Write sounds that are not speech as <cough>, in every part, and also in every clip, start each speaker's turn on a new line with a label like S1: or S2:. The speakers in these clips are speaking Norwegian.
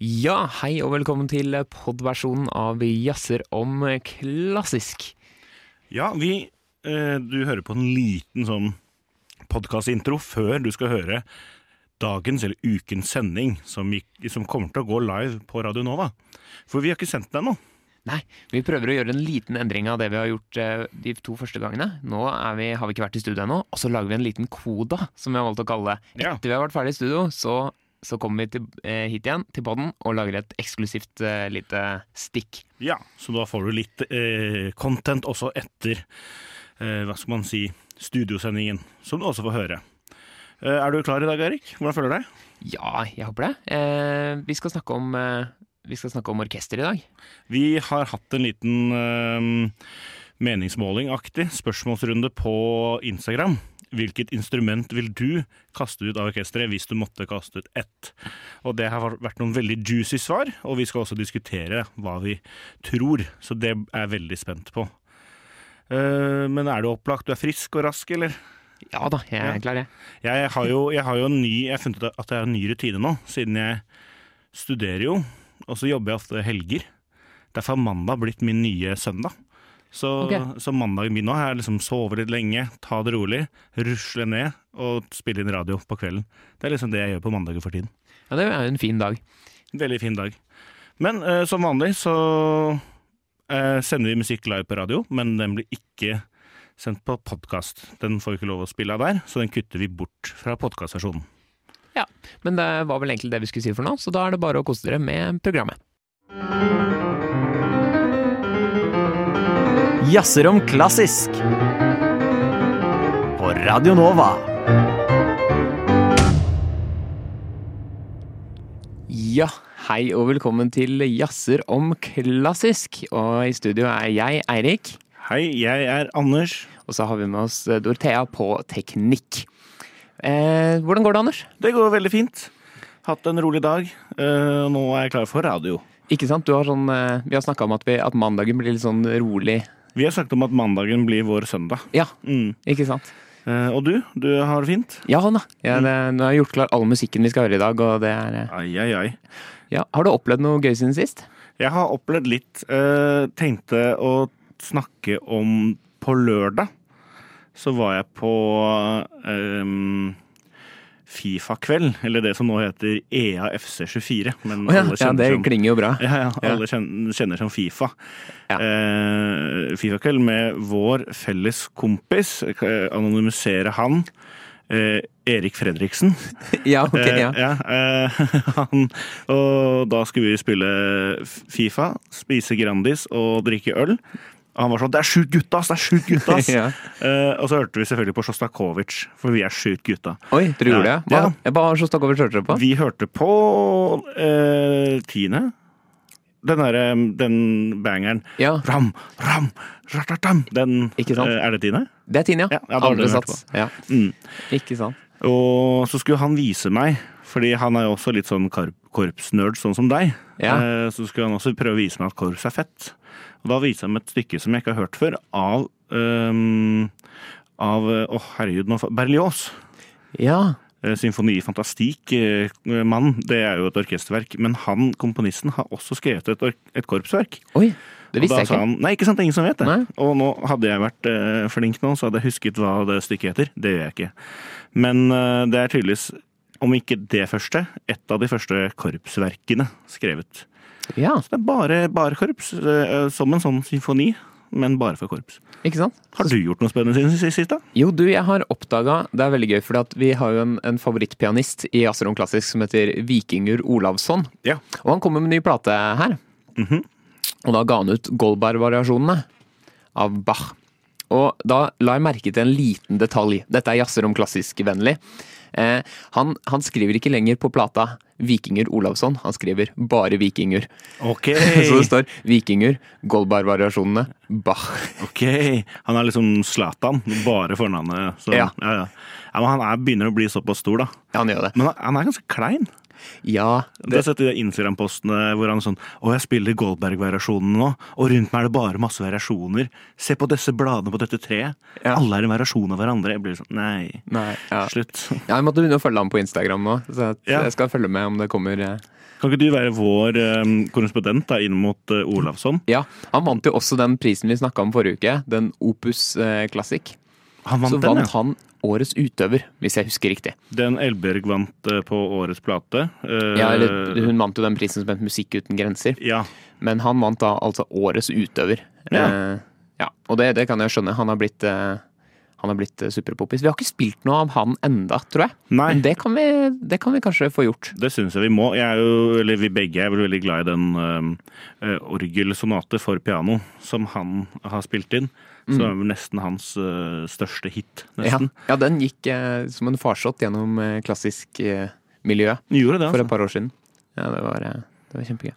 S1: Ja, hei og velkommen til podversjonen av Vi jazzer om klassisk.
S2: Ja, vi eh, Du hører på en liten sånn podkastintro før du skal høre dagens eller ukens sending som, gikk, som kommer til å gå live på Radio Nova. For vi har ikke sendt den ennå.
S1: Nei, vi prøver å gjøre en liten endring av det vi har gjort eh, de to første gangene. Nå er vi, har vi ikke vært i studio ennå, og så lager vi en liten koda, som vi har valgt å kalle det.
S2: Ja.
S1: Etter vi har vært ferdig i studio, så, så kommer vi til, eh, hit igjen til podden og lager et eksklusivt eh, lite stikk.
S2: Ja, så da får du litt eh, content også etter eh, hva skal man si studiosendingen, som du også får høre. Eh, er du klar i dag, Erik? Hvordan føler du deg?
S1: Ja, jeg håper det. Eh, vi skal snakke om eh, vi skal snakke om orkester i dag.
S2: Vi har hatt en liten eh, meningsmåling-aktig spørsmålsrunde på Instagram. Hvilket instrument vil du kaste ut av orkesteret hvis du måtte kaste ut ett? Og Det har vært noen veldig juicy svar, og vi skal også diskutere hva vi tror. Så det er jeg veldig spent på. Eh, men er du opplagt? Du er frisk og rask, eller?
S1: Ja da, jeg er
S2: Ja.
S1: klar, jeg.
S2: Jeg har jo, jeg har jo en ny Jeg har funnet ut at jeg har en ny rutine nå, siden jeg studerer jo, og så jobber jeg ofte helger. Derfor har mandag blitt min nye søndag. Så,
S1: Ok.
S2: så mandagen min nå har jeg liksom sovet litt lenge, ta det rolig, rusle ned og spille inn radio på kvelden. Det er liksom det jeg gjør på mandager for tiden.
S1: Ja, det er jo en fin dag.
S2: Veldig fin dag. Men eh, som vanlig så eh, sender vi musikk live på radio, men den blir ikke sendt på podkast. Den får vi ikke lov å spille av der, så den kutter vi bort fra podkastversjonen.
S1: Men det var vel egentlig det vi skulle si for nå, så da er det bare å kose dere med programmet.
S3: Jazzer om klassisk. På Radio Nova.
S1: Ja, hei og velkommen til Jazzer om klassisk. Og i studio er jeg, Eirik,
S2: Hei, jeg er Anders.
S1: og så har vi med oss Dorthea på teknikk. Eh, hvordan går det, Anders?
S2: Det går veldig fint. Hatt en rolig dag. Eh, nå er jeg klar for radio.
S1: Ikke sant? Du har sånn, eh, vi har snakka om at, vi, at mandagen blir litt sånn rolig.
S2: Vi har sagt om at mandagen blir vår søndag.
S1: Ja,
S2: Mm.
S1: ikke sant?
S2: Eh, og du? Du har det fint?
S1: Ja sånn da. Ja, det, nå har jeg gjort klar all musikken vi skal høre i dag, og det er eh,
S2: Ai, ai, ai.
S1: Ja, har du opplevd noe gøy siden sist?
S2: Jeg har opplevd litt. eh, tenkte å snakke om På lørdag så var jeg på eh, Fifa-kveld, eller det som nå heter E EA FC24. Men
S1: Å ja,
S2: alle
S1: ja,
S2: kjenner
S1: det
S2: som-
S1: klinger jo bra.
S2: <laughs> Ja, ja.
S1: Ja.
S2: Alle kjenner, kjenner som Fifa.
S1: Ja.
S2: Eh, Fifa-kveld med vår felles kompis. Jeg kan, eh, Anonymisere han. Eh, Erik Fredriksen.
S1: Ja, <laughs> ok, ja.
S2: Eh, ja, eh, <laughs> han, og da skulle vi spille F- Fifa, spise Grandis og drikke øl. Og han var sånn 'Det er sjukt gutta, ass! Det er sjukt gutta,
S1: <laughs>
S2: ass!'
S1: Ja.
S2: eh, og så hørte vi selvfølgelig på Sjostakovitsj, for vi er sjukt gutta.
S1: Oi, dere gjorde
S2: Ja,
S1: det? Hva,
S2: ja.
S1: ja. Hva har Sjostakovitsj hørt dere på?
S2: Vi hørte på eh, tiende. Den derre Den bangeren.
S1: Ja,
S2: Ram, ram, ratatam. Den
S1: Ikke sant?
S2: eh, Er det tiende?
S1: Det er Tine, ja.
S2: Ja, ja, det var
S1: Andre
S2: det vi hørte
S1: sats. Ja.
S2: Mm.
S1: Ikke sant.
S2: Og så skulle han vise meg, fordi han er jo også litt sånn kar- korpsnerd, sånn som deg.
S1: Ja.
S2: Eh, Så skulle han også prøve å vise meg at korps er fett. Og da viste han meg et stykke som jeg ikke har hørt før, av ehm, Av Å, herregud, nå fa- Berlioz.
S1: Ja.
S2: Eh, Symfoni Fantastik, eh, mann, det er jo et orkesterverk. Men han, komponisten, har også skrevet et, ork- et korpsverk.
S1: Oi, det
S2: Og
S1: visste
S2: da
S1: jeg
S2: sa
S1: ikke.
S2: han Nei, ikke sant, det er ingen som vet det.
S1: Nei.
S2: Og nå hadde jeg vært eh, flink nå, så hadde jeg husket hva det stykket heter. Det gjør jeg ikke. Men eh, det er tydeligvis, om ikke det første, et av de første korpsverkene skrevet.
S1: Ja,
S2: Så det er bare, bare korps, eh, som en sånn symfoni, men bare for korps.
S1: ikke sant?
S2: Har du gjort noe spennende siden sist, sist da?
S1: Jo, du, jeg har oppdaga Det er veldig gøy, for at vi har jo en, en favorittpianist i Jazzerom Klassisk som heter Vikingur Olavsson.
S2: Ja.
S1: Og han kommer med en ny plate her. Mhm. Og da ga han ut Goldberg-variasjonene av Bach. Og da la jeg merke til en liten detalj. Dette er Jazzerom Klassisk-vennlig. Eh, han, han skriver ikke lenger på plata Vikinger Olavsson, han skriver bare Vikinger. <laughs>
S2: Ok.
S1: Så det står Vikinger, Goldberg-variasjonene, Bach.
S2: ok. Han er liksom Zlatan, bare fornavnet. Så,
S1: Ja.
S2: Ja, ja. ja, men han er, begynner å bli såpass stor, da.
S1: Ja, han gjør det.
S2: Men han- han er ganske klein.
S1: Ja,
S2: Det har jeg sett i de Instagram-postene hvor han er sånn Å, jeg spiller Goldberg-variasjonen nå, og rundt meg er det bare masse variasjoner. Se på disse bladene på dette treet.
S1: Ja.
S2: Alle er en variasjon av hverandre. Jeg blir sånn Nei.
S1: nei, ja.
S2: Slutt.
S1: Ja, Jeg måtte begynne å følge ham på Instagram nå, så at
S2: Ja.
S1: jeg skal følge med om det kommer eh.
S2: Kan ikke du være vår eh, korrespondent da, inn mot eh, Olavsson?
S1: Ja, Han vant jo også den prisen vi snakka om forrige uke, den Opus eh, Classic.
S2: Han
S1: Så
S2: vant den,
S1: vant
S2: ja.
S1: han Årets utøver, hvis jeg husker riktig.
S2: Den Elbjørg vant eh, på årets plate. Eh,
S1: Ja, eller, hun vant jo den prisen som het Musikk uten grenser,
S2: ja.
S1: men han vant da altså Årets utøver.
S2: Ja.
S1: Eh, ja. Og det, det kan jeg skjønne. Han har blitt eh, han har blitt eh, superpoppis. Vi har ikke spilt noe av han enda, tror jeg.
S2: Nei.
S1: Men det kan, vi, det kan vi kanskje få gjort.
S2: Det syns jeg vi må. Jeg er jo, eller Vi begge er vel veldig glad i den uh, orgelsonate for piano som han har spilt inn. Som er vel nesten hans eh, største hit,
S1: Mm. Ja,
S2: nesten.
S1: ja den gikk eh, som en farsott gjennom eh, klassisk eh, miljø
S2: Gjorde det,
S1: for et
S2: altså.
S1: par år siden. Ja, det var, eh, det var kjempegøy.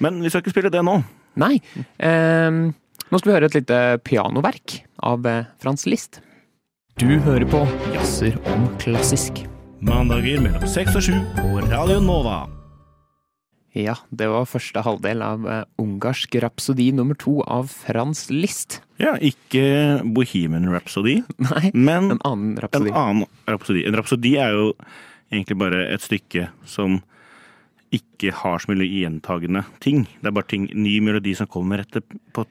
S2: Men vi skal ikke spille det nå.
S1: Nei, eh, nå skal vi høre et lite pianoverk av eh, Frans List. Du hører på Jazzer om klassisk.
S2: Mandager mellom seks og sju på Radio Nova.
S1: Ja, det var første halvdel av eh, ungarsk rapsodi nummer to av Frans List. <laughs>
S2: Ja, ikke Bohemian Rhapsody,
S1: Nei,
S2: men
S1: en annen
S2: en
S1: rapsodi.
S2: annen rapsodi. En rapsodi er jo egentlig bare et stykke som ikke har så mye gjentagende ting. Det er bare ting, ny melodi som kommer etter, på,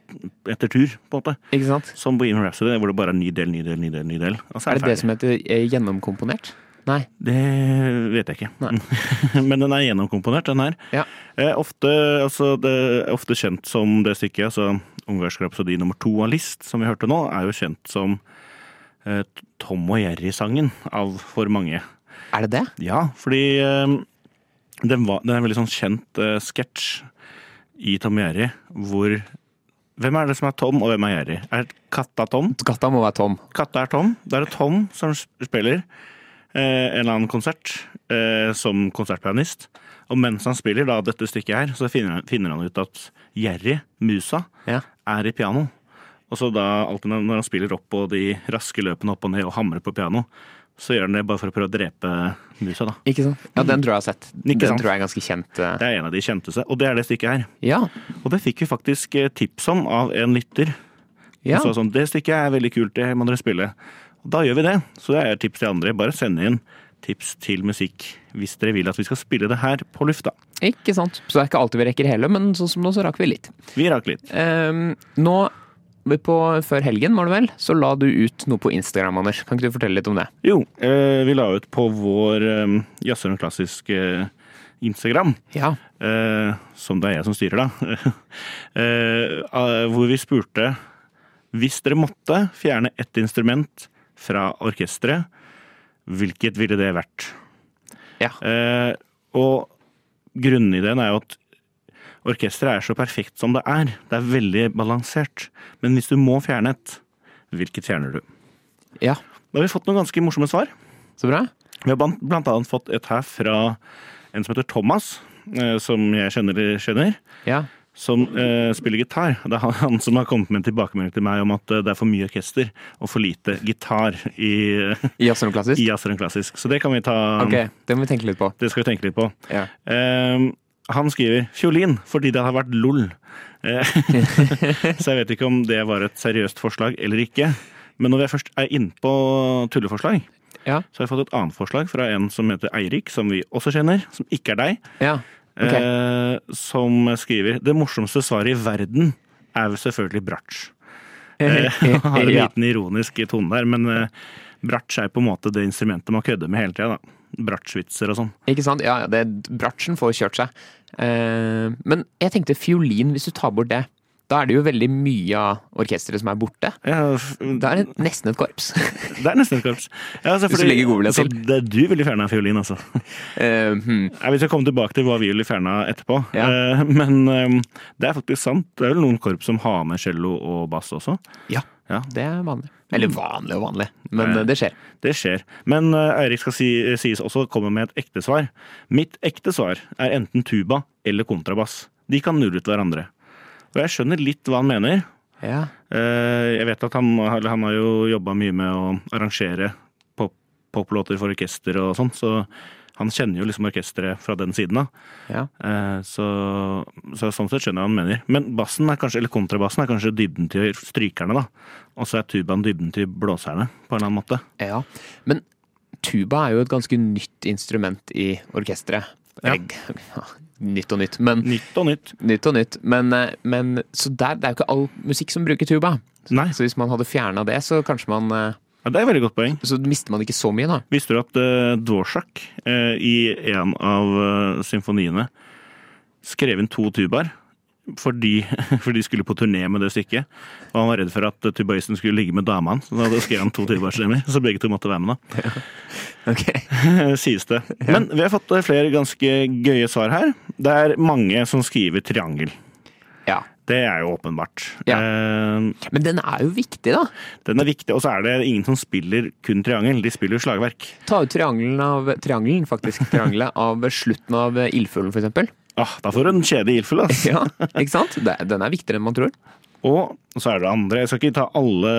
S2: etter tur, på en måte.
S1: Ikke sant?
S2: Som Bohemian Rhapsody, hvor det bare er ny del, ny del, ny del. ny del. Og så
S1: Er det det
S2: ferdig.
S1: som heter eh, gjennomkomponert? Nei.
S2: Det vet jeg ikke. <laughs> Men den er gjennomkomponert, den her.
S1: Ja.
S2: Eh, ofte, altså, det er ofte kjent som det stykket. altså Ungarsk rapsodi nummer to av List, som vi hørte nå, er jo kjent som eh, Tom og Jerry-sangen av for mange.
S1: Er det det?
S2: Ja, fordi eh, den, var, den er en veldig sånn kjent eh, sketsj i Tom og Jerry, hvor Hvem er det som er Tom, og hvem er Jerry? Er katta Tom?
S1: Katta må være tom.
S2: Katta er Tom. Da er det Tom som sp- spiller eh, en eller annen konsert eh, som konsertpianist. Og mens han spiller da dette stykket her, så finner han, finner han ut at Jerry, musa,
S1: Ja.
S2: er i piano. Og så da, alltid når når han spiller opp på de raske løpene opp og ned og hamrer på piano, så gjør han det bare for å prøve å drepe musa, da.
S1: Ikke sant? Ja, den tror jeg jeg har sett.
S2: Ikke
S1: den
S2: sant?
S1: tror jeg er ganske kjent. eh.
S2: Det er en av de kjenteste, og det er det stykket her.
S1: Ja.
S2: Og det fikk vi faktisk eh, tips om av en lytter.
S1: ja.
S2: Og så sånn, det stykket er veldig kult, det må dere spille. Og da gjør vi det. Så det er et tips til andre. Bare send inn tips til musikk hvis dere vil at vi skal spille det her på lufta.
S1: Ikke sant. Så det er ikke alltid vi rekker hele, men sånn som nå, så rakk vi litt.
S2: Vi rakk litt.
S1: Ehm, nå på, før helgen, var det vel, så la du ut noe på Instagram, Anders. Kan ikke du fortelle litt om det?
S2: Jo, eh, vi la ut på vår eh, jazzer og klassisk eh, Instagram,
S1: Ja.
S2: eh, som det er jeg som styrer, da, <laughs> eh, eh, hvor vi spurte hvis dere måtte fjerne ett instrument fra orkesteret, hvilket ville det vært?
S1: Ja.
S2: Eh, og grunnideen er jo at orkesteret er så perfekt som det er. Det er veldig balansert. Men hvis du må fjerne et, hvilket fjerner du?
S1: ja.
S2: Da har vi fått noen ganske morsomme svar.
S1: Så bra.
S2: Vi har ban- blant annet fått et her fra en som heter Thomas, eh, som jeg kjenner, kjenner
S1: Ja.
S2: som eh, spiller gitar. Det er han, han som har kommet med en tilbakemelding til meg om at eh, det er for mye orkester og for lite gitar i, <laughs>
S1: Jazz som klassisk?
S2: i jazzer og klassisk. Så det kan vi ta
S1: Ok, det må vi tenke litt på.
S2: Det skal vi tenke litt på.
S1: Ja.
S2: Eh, han skriver fiolin fordi det har vært lol. Eh, <laughs> så jeg vet ikke om det var et seriøst forslag eller ikke. Men når vi først er innpå tulleforslag,
S1: Ja.
S2: så har jeg fått et annet forslag fra en som heter Eirik, som vi også kjenner, som ikke er deg,
S1: ja. Ok. <laughs>
S2: eh, som skriver det morsomste svaret i verden er jo selvfølgelig
S1: <laughs>
S2: bratsj. Eh, har en
S1: ja.
S2: liten ironisk tone der, men eh, bratsj er på en måte det instrumentet man kødder med hele tida. Bratsjvitser og sånn.
S1: Ikke sant? Ja, ja, det, bratsjen får kjørt seg. Eh, men jeg tenkte fiolin, hvis du tar bort det. Da er det jo veldig mye av orkesteret som er borte.
S2: Ja, f-
S1: Det er et, nesten et korps. <laughs>
S2: Det er nesten et korps. Ja, altså,
S1: Hvis du legger godvilja
S2: så
S1: til.
S2: Det, du ville fjerna fiolin, altså.
S1: Eh, hmm.
S2: Nei, Vi skal komme tilbake til hva vi ville fjerna etterpå.
S1: Ja.
S2: Eh, Men eh, det er faktisk sant. Det er vel noen korps som har med cello og bass også.
S1: Ja,
S2: Ja.
S1: det er vanlig. Eller vanlig og vanlig, men
S2: Eh.
S1: eh, det skjer.
S2: Det skjer. Men eh, Eirik skal si, sies også å komme med et ekte svar. Mitt ekte svar er enten tuba eller kontrabass. De kan nulle ut hverandre. Og jeg skjønner litt hva han mener.
S1: Ja.
S2: Eh, Jeg vet at han, eller han har jo jobba mye med å arrangere pop- poplåter for orkester og sånn, så Han kjenner jo liksom orkesteret fra den siden av.
S1: Ja.
S2: Eh, Så, så sånn sett skjønner jeg hva han mener. Men bassen er kanskje, eller kontrabassen er kanskje dybden til strykerne, da. Og så er tubaen dybden til blåserne, på en eller annen måte.
S1: Ja, men tuba er jo et ganske nytt instrument i orkestret.
S2: Ja.
S1: Eller, ja, Nytt og nytt, men
S2: Nytt og nytt.
S1: Nytt og nytt, men, eh, men så der, det er jo ikke all musikk som bruker tuba.
S2: Nei,
S1: Så hvis man hadde fjerna det, så kanskje man eh,
S2: ja, det er et veldig godt poeng.
S1: Så mister man ikke så mye, da.
S2: Visste du at uh, Dvorak eh, i en av eh, symfoniene skrev inn to tubaer? Fordi, <laughs> fordi de skulle på turné med det stykket. Og han var redd for at eh, tubaisten skulle ligge med dama hans. Så Da skrev han to tubaer, så begge to måtte være med, da. <laughs>
S1: Ok.
S2: sies det. Men vi har fått eh, flere ganske gøye svar her. Det er mange som skriver triangel.
S1: Ja.
S2: Det er jo åpenbart.
S1: Ja.
S2: Eh,
S1: Men den er jo viktig, da.
S2: Den er viktig, og så er det ingen som spiller kun triangel. De spiller jo slagverk.
S1: Ta ut triangelen av triangelen, faktisk. Triangelet av slutten av eh, ildfuglen, for eksempel.
S2: Ah, da får du en kjede i ildfugl, ass.
S1: Ja, ikke sant? Det, den er viktigere enn man tror.
S2: Og så er det andre. Jeg skal ikke ta alle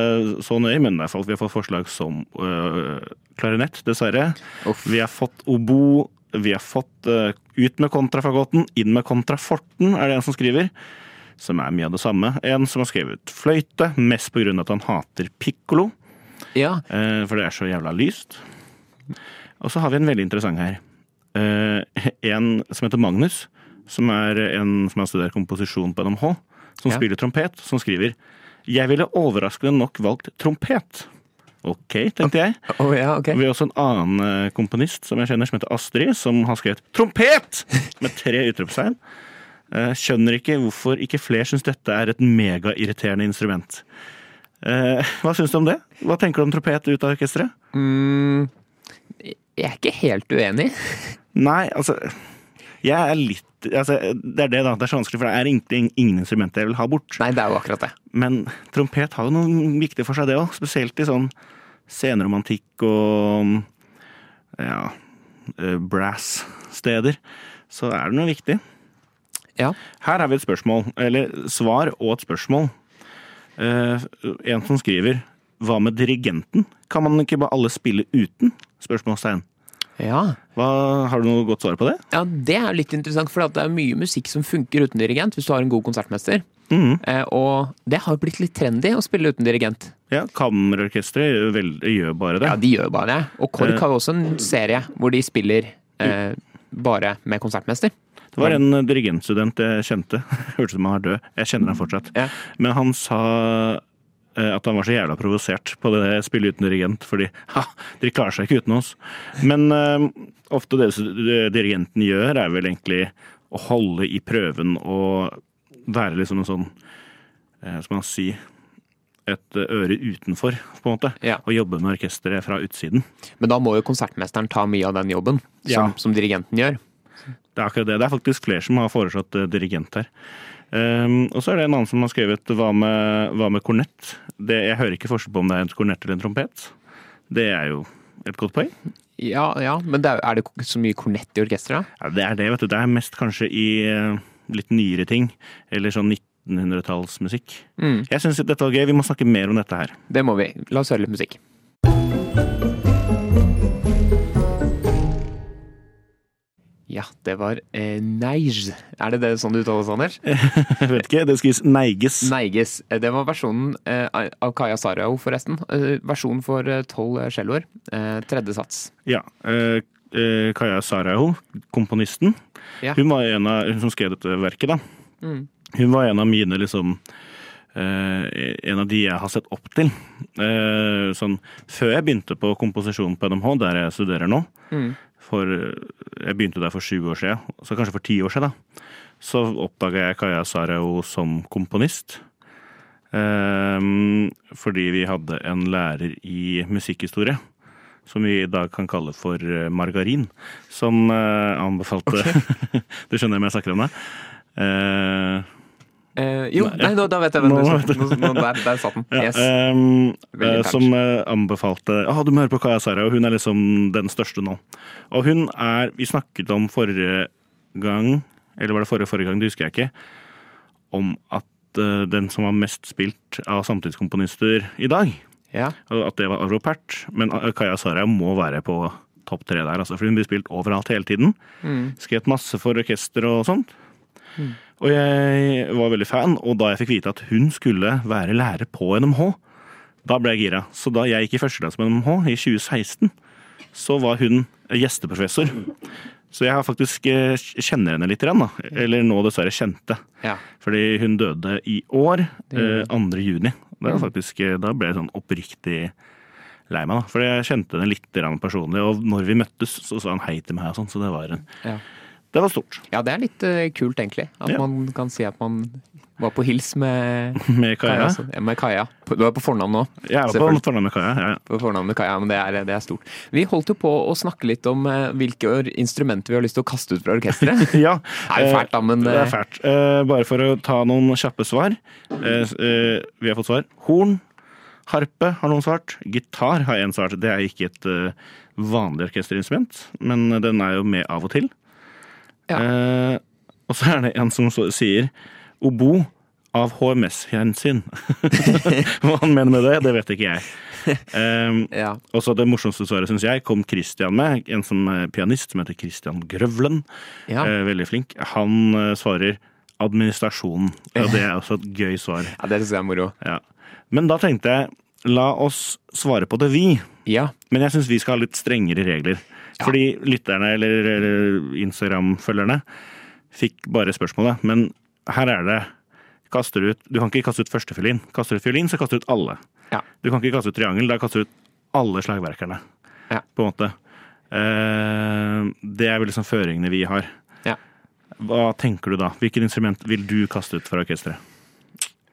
S2: så nøye, men i hvert fall vi har fått forslag som øh, klarinett, dessverre.
S1: Uff.
S2: Vi har fått obo. Vi har fått øh, ut med kontrafagotten, inn med kontraforten, er det en som skriver. Som er mye av det samme. En som har skrevet fløyte, mest pga. at han hater pikkolo,
S1: Ja.
S2: eh, for det er så jævla lyst. Og så har vi en veldig interessant her. Eh, en som heter Magnus, som er en som har studert komposisjon på NMH, som
S1: Ja.
S2: spiller trompet, som skriver Jeg ville overraskende nok valgt trompet. Ok, tenkte jeg.
S1: Å ja, ok.
S2: Vi har også en annen eh, komponist som jeg kjenner, som heter Astrid, som har skrevet 'trompet' med tre utropstegn. Eh, Skjønner ikke hvorfor ikke flere syns dette er et megairriterende instrument. Eh, Hva syns du om det? Hva tenker du om trompet ut av orkesteret?
S1: Mm, jeg er ikke helt uenig.
S2: Nei, altså Jeg er litt altså, Det er det, da. Det er så vanskelig, for det er egentlig ingen instrumenter jeg vil ha bort.
S1: Nei, det er jo akkurat det.
S2: Men trompet har jo noe viktig for seg, det òg. Spesielt i sånn senromantikk og ja, eh, brass-steder. Så er det noe viktig.
S1: Ja.
S2: Her har vi et spørsmål, eller svar og et spørsmål. Eh, en som skriver Hva med dirigenten? Kan man ikke bare alle spille uten? Spørsmålstegn.
S1: ja.
S2: Hva, har du noe godt svar på det?
S1: Ja, det er litt interessant, for det er mye musikk som funker uten dirigent, hvis du har en god konsertmester.
S2: Mhm.
S1: Eh, og det har jo blitt litt trendy å spille uten dirigent.
S2: Ja, Kammerorkesteret gjør, vel- gjør bare det.
S1: Ja, de gjør jo bare det. Og KORK
S2: Eh.
S1: har jo også en serie hvor de spiller eh, bare med konsertmester.
S2: Det var en dirigentstudent jeg kjente. <laughs> Hørtes ut som han var død. Jeg kjenner han fortsatt.
S1: Ja.
S2: Men han sa eh, at han var så jævla provosert på det spillet uten dirigent, fordi <laughs> ha, de klarer seg ikke uten oss. Men eh, ofte det som dirigenten gjør, er vel egentlig å holde i prøven og være liksom en sånn eh, Skal man si et eh, øre utenfor, på en måte.
S1: Ja.
S2: Og jobbe med orkesteret fra utsiden.
S1: Men da må jo konsertmesteren ta mye av den jobben som,
S2: Ja.
S1: som dirigenten gjør.
S2: Det er akkurat det. Det er faktisk flere som har foreslått eh, dirigent her. Ehm, og så er det en annen som har skrevet hva med, hva med kornett? Det, jeg hører ikke forskjell på om det er en kornett eller en trompet. Det er jo et godt poeng.
S1: Ja, ja, men det er, er det ikke så mye kornett i orkesteret? da?
S2: Ja, det er det, vet du. Det er mest kanskje i eh, litt nyere ting. Eller sånn 1900-tallsmusikk.
S1: Mm.
S2: Jeg syns dette var gøy. Vi må snakke mer om dette her.
S1: Det må vi. La oss høre litt musikk. Ja, det var eh, Neige. Er det det sånn det uttales, Anders?
S2: Jeg vet ikke, det skrives neiges.
S1: Neiges. Eh, Det var versjonen eh, av Kaja Sarao, forresten. Eh, Versjonen for eh, tolv celloer. Eh, Tredje sats.
S2: Ja. eh, eh, Kaja Saraho, komponisten,
S1: Ja.
S2: hun var en av hun som skrev dette verket, da.
S1: Mm.
S2: Hun var en av mine liksom eh, En av de jeg har sett opp til. Eh, sånn, før jeg begynte på komposisjon på NMH, der jeg studerer nå
S1: Mm.
S2: for, eh, Jeg begynte der for sju år siden, så kanskje for ti år siden. Da, så oppdaga jeg Kaja Sarao som komponist. Ehm, fordi vi hadde en lærer i musikkhistorie. Som vi i dag kan kalle for eh, margarin. Som eh, anbefalte <laughs> Du skjønner hvem jeg snakker om, da? Eh,
S1: Eh, jo, nei, da, da vet jeg hvem
S2: Nå
S1: du
S2: vet jeg.
S1: snakker om. Nå- nå- Der, der satt den.
S2: Ja,
S1: Yes.
S2: ehm,
S1: Veldig
S2: eh,
S1: internt.
S2: som eh, anbefalte ah, du må høre på Kaja Sarah, og hun er liksom den største nå. Og hun er Vi snakket om forrige gang, eller var det forrige forrige gang, det husker jeg ikke, om at eh, den som var mest spilt av samtidskomponister i dag,
S1: Ja.
S2: og at det var Arvo Pärt, men eh, Kaja Sarah må være på topp tre der, altså, for hun blir spilt overalt hele tiden. Skrevet masse for orkester og sånt. Og jeg var veldig fan, og da jeg fikk vite at hun skulle være lærer på NMH, da ble jeg gira. Så da jeg gikk i førsteklasse på NMH i 2016, så var hun gjesteprofessor. Så jeg har faktisk eh, kjenner henne litt, grann, da. eller nå dessverre kjente.
S1: Ja.
S2: Fordi hun døde i år, eh, 2. juni. Det er faktisk, eh, da ble jeg sånn oppriktig lei meg, da. For jeg kjente henne litt grann personlig. Og når vi møttes, så sa han hei til meg og sånn, så det var, en,
S1: Ja.
S2: det var stort.
S1: Ja, det er litt eh, kult, egentlig. At
S2: Ja.
S1: man kan si at man var på hils med
S2: Med Kaja.
S1: altså. Ja, med Kaja. På- Du er på fornavn nå.
S2: Jeg er på
S1: Selvfølgelig.
S2: fornavn med Kaja. Ja, ja.
S1: På fornavn med Kaja, men det er, det er stort. Vi holdt jo på å snakke litt om eh, hvilke or- instrumenter vi har lyst til å kaste ut fra orkesteret.
S2: Ja,
S1: Det er jo fælt, da, men,
S2: Det
S1: eh,
S2: er fælt. Eh, Bare for å ta noen kjappe svar. Eh, s- eh, Vi har fått svar. Horn, harpe har noen svart. Gitar har én svart. Det er ikke et eh, vanlig orkesterinstrument, men den er jo med av og til.
S1: Ja.
S2: Eh, Og så er det en som så- sier obo av HMS-hensyn. <laughs> Hva han mener med det, det vet ikke jeg. Eh,
S1: <laughs> Ja.
S2: og så det morsomste svaret, syns jeg, kom Christian med. En som er pianist som heter Christian Grøvlen.
S1: Ja.
S2: Eh, veldig flink. Han eh, svarer administrasjonen, og det er også et gøy svar.
S1: ja, det syns jeg er moro.
S2: Ja. Men da tenkte jeg, la oss svare på det vi.
S1: Ja.
S2: Men jeg syns vi skal ha litt strengere regler. Fordi lytterne eller, eller Instagram-følgerne fikk bare spørsmålet. Men her er det kaster ut, Du kan ikke kaste ut første fiolin. Kaster du ut fiolin, så kaster du ut alle.
S1: Ja.
S2: Du kan ikke kaste ut triangel. Da kaster du ut alle slagverkerne.
S1: Ja.
S2: På en måte. Eh, det er vel liksom føringene vi har.
S1: Ja.
S2: Hva tenker du da? Hvilket instrument vil du kaste ut fra orkesteret?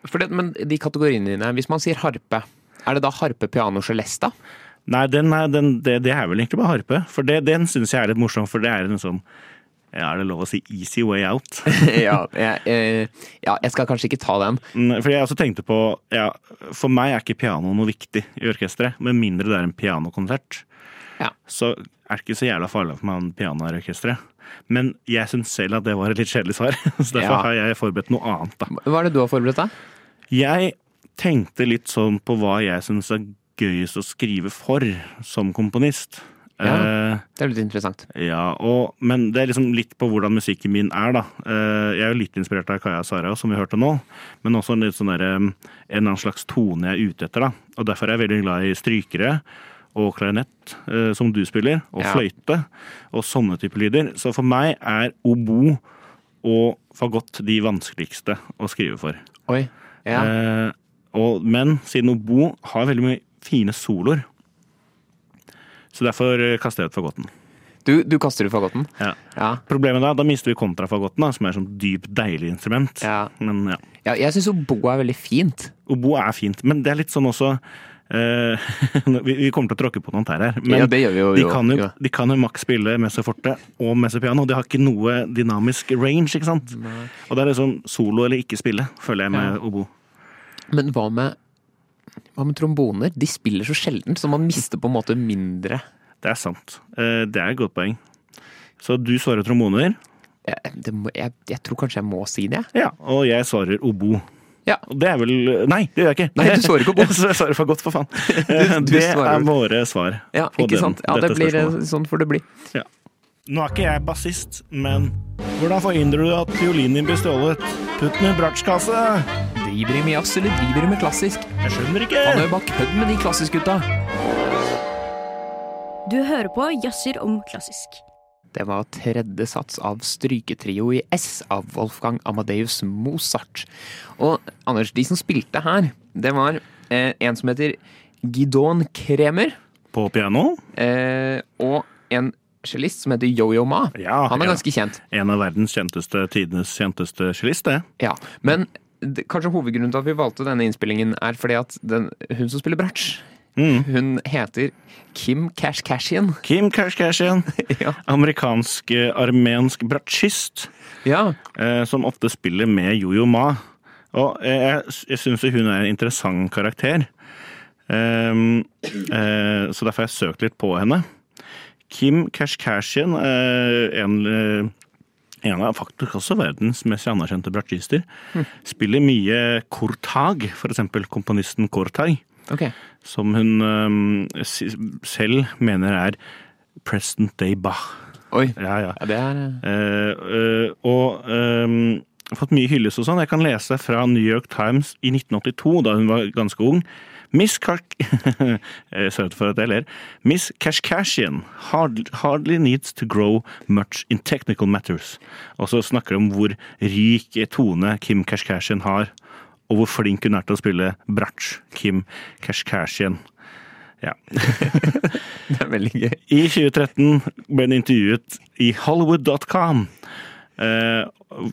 S1: For det, men de kategoriene dine, hvis man sier harpe, er det da harpe, piano, celesta?
S2: Nei, den er, den, det, det er vel egentlig bare harpe. For det, den syns jeg er litt morsom, for det er en sånn ja, Er det lov å si 'easy way out'?
S1: <laughs> <laughs> ja, jeg, eh, ja, jeg skal kanskje ikke ta den.
S2: Mm, Fordi jeg også tenkte på ja, For meg er ikke piano noe viktig i orkesteret, med mindre det er en pianokonsert.
S1: Ja.
S2: Så er det ikke så jævla farlig for meg om piano er i orkesteret. Men jeg syns selv at det var et litt kjedelig svar, <laughs> så derfor
S1: Ja.
S2: har jeg forberedt noe annet. da.
S1: Hva er det du har forberedt deg?
S2: Jeg tenkte litt sånn på hva jeg syns er gøyest å skrive for som komponist.
S1: Ja.
S2: Eh,
S1: Det er litt interessant.
S2: Ja, og, men det er liksom litt på hvordan musikken min er, da. Eh, Jeg er jo litt inspirert av Kaja og Sara, som vi hørte nå. Men også en, litt sånn der, eh, en eller annen slags tone jeg er ute etter. da. Og Derfor er jeg veldig glad i strykere og klarinett, eh, som du spiller, og
S1: Ja.
S2: fløyte. Og sånne typer lyder. Så for meg er obo og fagott de vanskeligste å skrive for.
S1: Oi. Ja.
S2: Eh, og, men siden obo har veldig mye fine soloer, så derfor eh, kaster jeg ut fagotten.
S1: Du, du kaster ut fagotten?
S2: Ja.
S1: Ja.
S2: Problemet da, da mister vi kontrafagotten, da, som er sånn dyp, deilig instrument.
S1: Ja.
S2: Men ja,
S1: ja jeg syns obo er veldig fint.
S2: Obo er fint, men det er litt sånn også eh, <laughs> vi, vi kommer til å tråkke på noen tær her, men
S1: ja, det gjør vi jo.
S2: de,
S1: jo,
S2: kan jo,
S1: jo.
S2: de kan jo maks spille messe forte og messe piano. De har ikke noe dynamisk range, ikke sant? Og det er liksom solo eller ikke spille, føler jeg med
S1: Ja.
S2: obo.
S1: Men hva med, hva med tromboner? De spiller så sjelden, så man mister på en måte mindre
S2: Det er sant. Eh, det er et godt poeng. Så du svarer tromboner,
S1: jeg, det, må- jeg, jeg tror kanskje jeg må si det. jeg.
S2: ja, og jeg svarer obo.
S1: Ja.
S2: Og Det er vel Nei, det gjør jeg ikke.
S1: Nei, du svarer
S2: <laughs>
S1: ikke på
S2: Jeg svarer for godt, for
S1: <laughs>
S2: faen. Eh, det
S1: svarer-
S2: er våre svar
S1: Ja,
S2: på
S1: ikke
S2: den,
S1: sant? Ja, det
S2: dette
S1: blir,
S2: spørsmålet.
S1: sånn får det bli.
S2: Ja. Nå er ikke jeg bassist, men hvordan forhindrer du at fiolinen din blir stjålet? Putt den i bratsjkasse!
S1: Driver de med jazz, eller driver de med klassisk?
S2: Jeg skjønner ikke!
S1: Han er jo bare kødd med de klassisk-gutta.
S4: Du hører på Jazzer om klassisk.
S1: Det var tredje sats av Stryketrio i S av Wolfgang Amadeus Mozart. Og Anders, de som spilte her, det var eh, en som heter Gidon Kremer,
S2: På piano?
S1: eh, og en cellist som heter Yo-Yo Ma.
S2: Ja,
S1: Han er
S2: ja.
S1: ganske kjent.
S2: En av verdens kjenteste, tidenes kjenteste cellist, det.
S1: Ja, Men det, kanskje hovedgrunnen til at vi valgte denne innspillingen, er fordi at den, hun som spiller bratsj,
S2: Mm.
S1: hun heter Kim Cash Cashian.
S2: Kim eh, Kashkashian.
S1: <laughs> Ja.
S2: Amerikansk-armensk bratsjist.
S1: Ja,
S2: eh, som ofte spiller med Jojo Ma. Og eh, jeg, jeg syns hun er en interessant karakter. Ehm, eh, så derfor har jeg søkt litt på henne. Kim Kashkashian, eh, en, eh, en av faktisk også verdens mest anerkjente bratsjister, spiller mye Kortag, f.eks. komponisten Kortag
S1: ok.
S2: som hun øhm, s- selv ehm, mener er Present Day Bach.
S1: Oi.
S2: Ja, ja.
S1: Ja, det er eh,
S2: Eh, eh, og ehm, fått mye hyllest og sånn. Jeg kan lese fra New York Times i 1982, da hun var ganske ung. Miss Kark... <laughs> Sorry for at jeg ler. Miss Kashkashian hard, hardly needs to grow much in technical matters. Og så snakker de om hvor rik tone Kim Kashkashian har, og hvor flink hun er til å spille bratsj. Kim Kashkashian. Ja.
S1: det er veldig gøy.
S2: I 2013 ble hun intervjuet i Hollywood.com. Eh,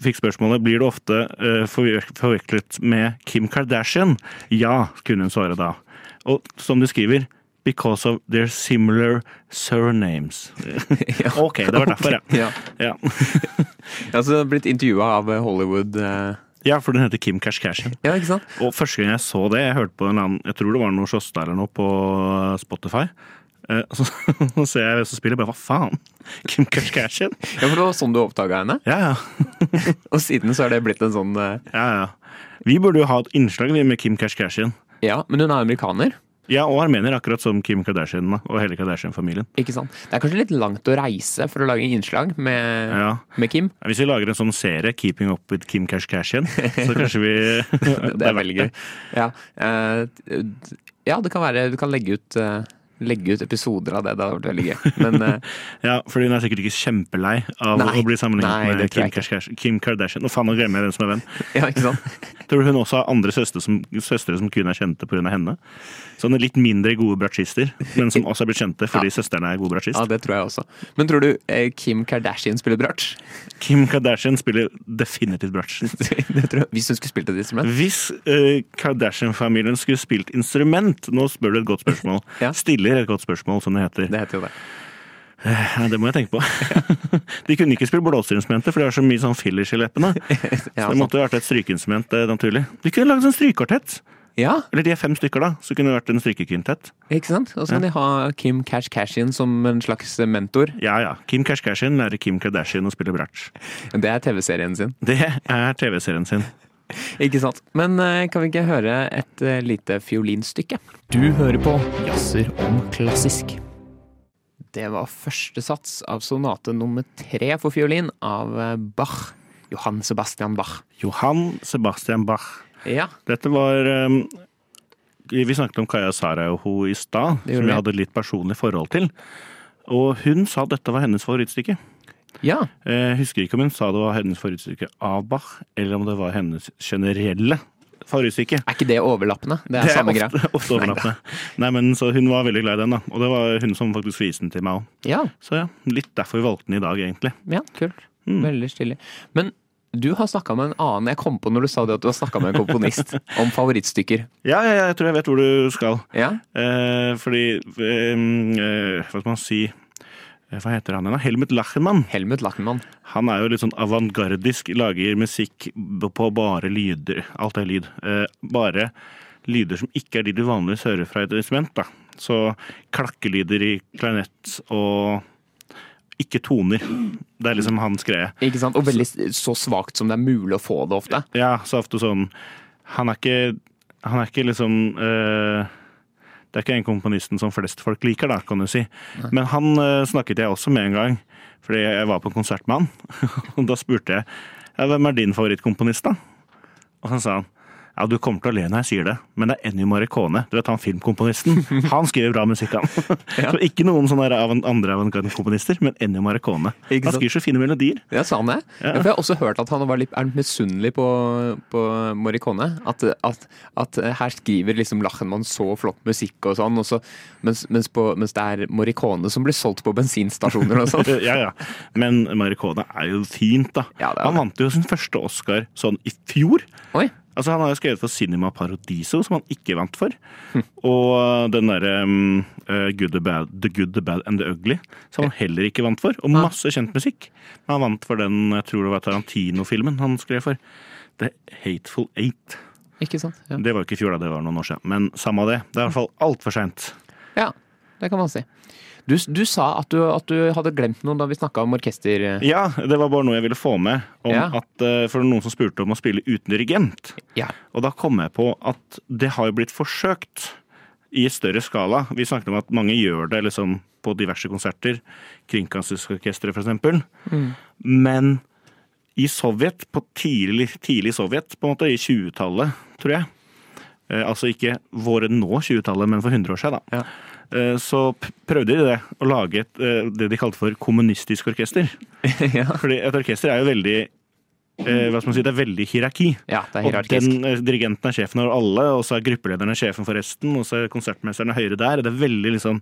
S2: fikk spørsmålet blir du ofte eh, forvek- forvekslet med Kim Kardashian. Ja, kunne hun svare da. Og som du skriver Because of their similar <laughs> surnames. Ok, det var derfor, ja.
S1: <laughs> Ja.
S2: Ja,
S1: Jeg har altså blitt intervjua av Hollywood eh,
S2: ja for den heter Kim Kardashian.
S1: Ja, ikke sant?
S2: Og første gang jeg så det, jeg hørte på en annen Jeg tror det var noe Sjåstad eller noe på Spotify. Eh, Så, <laughs> så ser jeg hvem som spiller, bare hva faen? Kim Kardashian?
S1: Ja, for det var sånn du oppdaga henne.
S2: Ja, ja.
S1: Og siden så er det blitt en sånn eh,
S2: Ja, ja. Vi burde jo ha et innslag vi, med Kim Kashkashian.
S1: Ja, men hun er amerikaner.
S2: Ja, og armener, akkurat som Kim Kardashian da, og hele Kardashian-familien.
S1: Ikke sant? Det er kanskje litt langt å reise for å lage innslag med,
S2: Ja.
S1: med Kim.
S2: Hvis vi lager en sånn serie, 'Keeping Up with Kim Kashkashian', så
S1: <laughs>
S2: kanskje vi
S1: Det, er veldig gøy. Ja, eh, d- ja det kan være Du kan legge ut, eh, legge ut episoder av det. Det hadde vært veldig gøy. Men eh,
S2: Ja, fordi hun er sikkert ikke kjempelei av
S1: Nei.
S2: å bli sammenlignet
S1: Nei,
S2: med
S1: det tror
S2: Kim
S1: jeg ikke.
S2: Kardashian. Kim Kardashian. Å faen, nå glemmer jeg hvem som er hvem.
S1: ja, ikke sant?
S2: Tror du hun også har andre søstre som, søstre som kun er kjente pga. henne? Sånne litt mindre gode bratsjister, men
S1: <laughs>
S2: som også er blitt kjente fordi søsterne er gode bratsjist.
S1: Ja, det tror jeg også. Men tror du eh, Kim Kardashian spiller bratsj?
S2: Kim Kardashian spiller definitivt bratsj.
S1: <laughs> Det tror jeg. Hvis hun skulle spilt et instrument?
S2: Hvis eh, Kardashian-familien skulle spilt instrument Nå spør du et godt spørsmål.
S1: <laughs> Ja.
S2: Stiller et godt spørsmål, som det heter. Det,
S1: Det heter jo det.
S2: det må jeg
S1: <laughs>
S2: tenke på. de kunne ikke spille blåseinstrumenter, for det var så mye sånn fillers i leppene.
S1: <laughs> Ja,
S2: så det måtte jo vært et strykeinstrument, det er naturlig. De kunne lagd en strykekvartett.
S1: ja
S2: Eller de er fem stykker, da. Så kunne det vært en strykekvintett.
S1: ikke sant? Og så kan de ha Kim Kardashian som en slags mentor.
S2: Ja ja. Kim Kashkashian lærer Kim Kardashian å spille bratsj.
S1: Det er TV-serien sin.
S2: Det er TV-serien sin.
S1: Ikke sant? Men eh, kan vi ikke høre et eh, lite fiolinstykke? Du hører på Jazzer om klassisk. Det var første sats av sonate nummer tre for fiolin av eh, Bach. Johan Sebastian Bach.
S2: Johan Sebastian Bach.
S1: Ja,
S2: Dette var um, Vi snakket om Kaja Sarajevo i stad,
S1: Det gjorde
S2: som
S1: vi.
S2: jeg hadde et litt personlig forhold til. Og hun sa at dette var hennes favorittstykke.
S1: ja,
S2: Jeg husker ikke om hun sa det var hennes favorittstykke av Bach, eller om det var hennes generelle favorittstykke.
S1: Er ikke det overlappende? Det er, samme greia.
S2: ofte, <laughs> ofte overlappende. Nei, men så Hun var veldig glad i den, da. Og det var hun som faktisk viste den til meg òg.
S1: Ja,
S2: Så ja, litt derfor vi valgte den i dag, egentlig.
S1: ja, kult. Veldig stilig. Men du har snakka med en annen Jeg kom på når du sa det at du har snakka med en komponist <laughs> om favorittstykker.
S2: Ja, ja, ja, jeg tror jeg vet hvor du skal.
S1: Ja,
S2: Eh, fordi eh, eh, Hva skal man si Eh, Hva heter han igjen? da? Helmut Lachenmann.
S1: Helmut Lachenmann.
S2: Han er jo litt sånn avantgardisk, lager musikk b- på bare lyder. Alt er lyd. Eh, bare lyder som ikke er de du vanligvis hører fra et instrument. da. Så klakkelyder i klarinett og ikke toner. Det er liksom hans greie.
S1: Ikke sant? Og veldig s- så svakt som det er mulig å få det ofte.
S2: Ja, så ofte sånn Han er ikke, han er ikke liksom eh, Det er ikke den komponisten som flest folk liker, da, kan du si. Men han eh, snakket jeg også med en gang, fordi jeg var på en konsert med han. <laughs> Og da spurte jeg ja, hvem er din favorittkomponist, da? Og så sa han ja, du kommer til å le når jeg sier det, men det er Ennio Morricone. Du vet han filmkomponisten?
S1: <laughs>
S2: Han skriver bra musikk, han. Så ikke noen sånne der avant- andre avantgarde-komponister, men Ennio Morricone.
S1: Ikke
S2: Han
S1: sant?
S2: skriver så fine melodier.
S1: Ja, sa han det? Ja. For jeg har også hørt at han var litt er misunnelig på, på Morricone. At, at, at her skriver liksom Lachenmann så flott musikk og sånn, og så, mens, mens, på, mens det er Morricone som blir solgt på bensinstasjoner og sånn.
S2: <laughs> ja, ja. Men Maricone er jo fint, da.
S1: Ja, det er
S2: han
S1: det.
S2: vant jo sin første Oscar sånn i fjor.
S1: <laughs> Oi!
S2: Altså, Han har jo skrevet for Cinema Paradiso, som han ikke vant for.
S1: Hm.
S2: Og eh, den derre um, eh, Good the, Bad, the Good, The Bad and The Ugly, som han heller ikke vant for. Og masse kjent musikk. Men han vant for den jeg tror det var Tarantino-filmen han skrev for. The Hateful Eight.
S1: Ikke sant? Ja.
S2: Det var jo ikke i fjor, da. Det var noen år siden. Men samme av det. Det er i hvert fall altfor seint.
S1: ja, det kan man si. Du, du sa at du, at du hadde glemt noe da vi snakka om orkester...
S2: Ja, det var bare noe jeg ville få med. Om
S1: Ja.
S2: at, eh, for noen som spurte om å spille uten dirigent.
S1: Ja.
S2: Og da kom jeg på at det har jo blitt forsøkt i større skala. Vi snakket om at mange gjør det liksom, på diverse konserter, Kringkastingsorkesteret f.eks. Men i Sovjet, på tidlig, tidlig Sovjet, på en måte i 20-tallet, tror jeg eh, Altså ikke våre nå 20-tallet, men for 100 år siden, da. Eh, Så p- prøvde de det, å lage et, eh, det de kalte for kommunistisk orkester.
S1: <laughs> ja.
S2: Fordi et orkester er jo veldig eh, Hva skal man si, det er veldig hierarki.
S1: ja, det er
S2: Og
S1: hierarkisk.
S2: den eh, dirigenten er sjefen over alle, og så er gruppelederen sjefen for resten, og så er konsertmesteren høyere der. Det er veldig liksom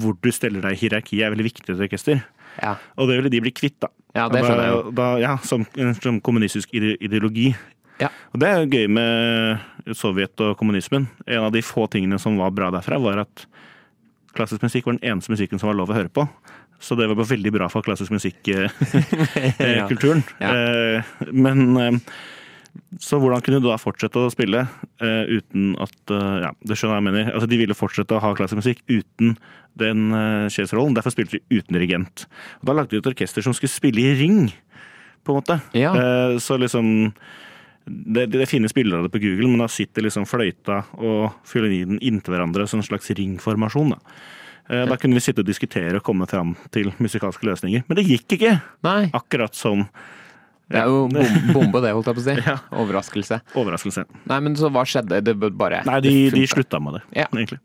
S2: Hvor du steller deg i hierarkiet er veldig viktig i et orkester.
S1: Ja.
S2: Og det ville de bli kvitt, da.
S1: Ja, det skjønner jeg jo.
S2: Da, da, ja, som, eh, som kommunistisk ide- ideologi.
S1: Ja.
S2: Og det er jo gøy med Sovjet og kommunismen. En av de få tingene som var bra derfra, var at klassisk musikk var den eneste musikken som var lov å høre på. Så det var bare veldig bra for
S1: <laughs>
S2: klassisk eh,
S1: Ja.
S2: musikk-kulturen.
S1: Ja.
S2: Eh, Men eh, så hvordan kunne du da fortsette å spille eh, uten at eh, Ja, det skjønner jeg hva jeg mener. Altså, de ville fortsette å ha klassisk musikk uten den uh, sjefsrollen. Derfor spilte de uten dirigent. Og da lagde de et orkester som skulle spille i ring, på en måte.
S1: Ja.
S2: Eh, så liksom det, det finnes bilder av det på Google, men da sitter liksom fløyta og fioliniden inntil hverandre som en slags ringformasjon. Da. Eh, da kunne vi sitte og diskutere og komme fram til musikalske løsninger. Men det gikk ikke!
S1: Nei,
S2: Akkurat som
S1: det er jo bom bombe det, holdt jeg på <laughs> å si.
S2: Ja.
S1: Overraskelse.
S2: overraskelse.
S1: Nei, men så hva skjedde? Det b- bare
S2: Nei, de,
S1: det
S2: de
S1: funka.
S2: slutta med det,
S1: Ja.
S2: egentlig.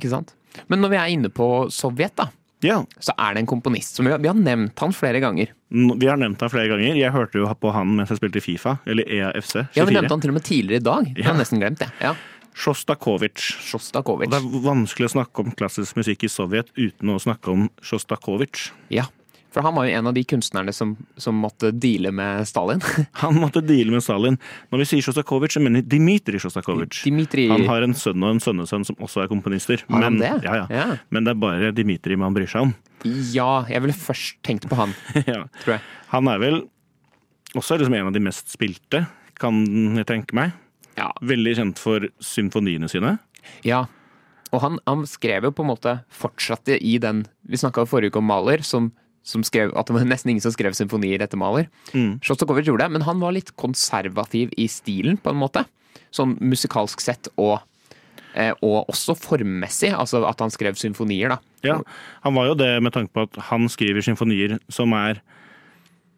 S1: Ikke sant? Men når vi er inne på Sovjet, da,
S2: Ja,
S1: så er det en komponist som vi har, vi har nevnt han flere ganger.
S2: N- Vi har nevnt han flere ganger. Jeg hørte jo på han mens jeg spilte i Fifa, eller E EAFC.
S1: Ja, vi
S2: 24.
S1: nevnte han til og med tidligere i dag. Jeg har
S2: Ja.
S1: nesten glemt det. Ja.
S2: Sjostakovitsj. Og
S1: Sjostakovitsj.
S2: det er vanskelig å snakke om klassisk musikk i Sovjet uten å snakke om Sjostakovitsj.
S1: Ja. For han var jo en av de kunstnerne som, som måtte deale med Stalin. <laughs>
S2: Han måtte deale med Stalin. Når vi sier Sjostakovitsj, så mener vi Dmitrij Sjostakovitsj.
S1: Dmitrij
S2: Han har en sønn og en sønnesønn som også er komponister.
S1: Har han
S2: men,
S1: det?
S2: Ja, ja.
S1: Ja.
S2: men det er bare Dmitrij man bryr seg om. <laughs>
S1: Ja, jeg ville først tenkt på han,
S2: ja.
S1: tror jeg.
S2: Han er vel også liksom en av de mest spilte, kan jeg tenke meg.
S1: Ja.
S2: Veldig kjent for symfoniene sine.
S1: ja. Og han, han skrev jo på en måte fortsatte i den Vi snakka forrige uke om Maler, som, som skrev at det var nesten ingen som skrev symfonier etter Maler.
S2: Mm.
S1: Sjostakovitsj gjorde det, men han var litt konservativ i stilen, på en måte. Sånn musikalsk sett og eh, og også formmessig, altså at han skrev symfonier, da.
S2: Ja, han var jo det med tanke på at han skriver symfonier som er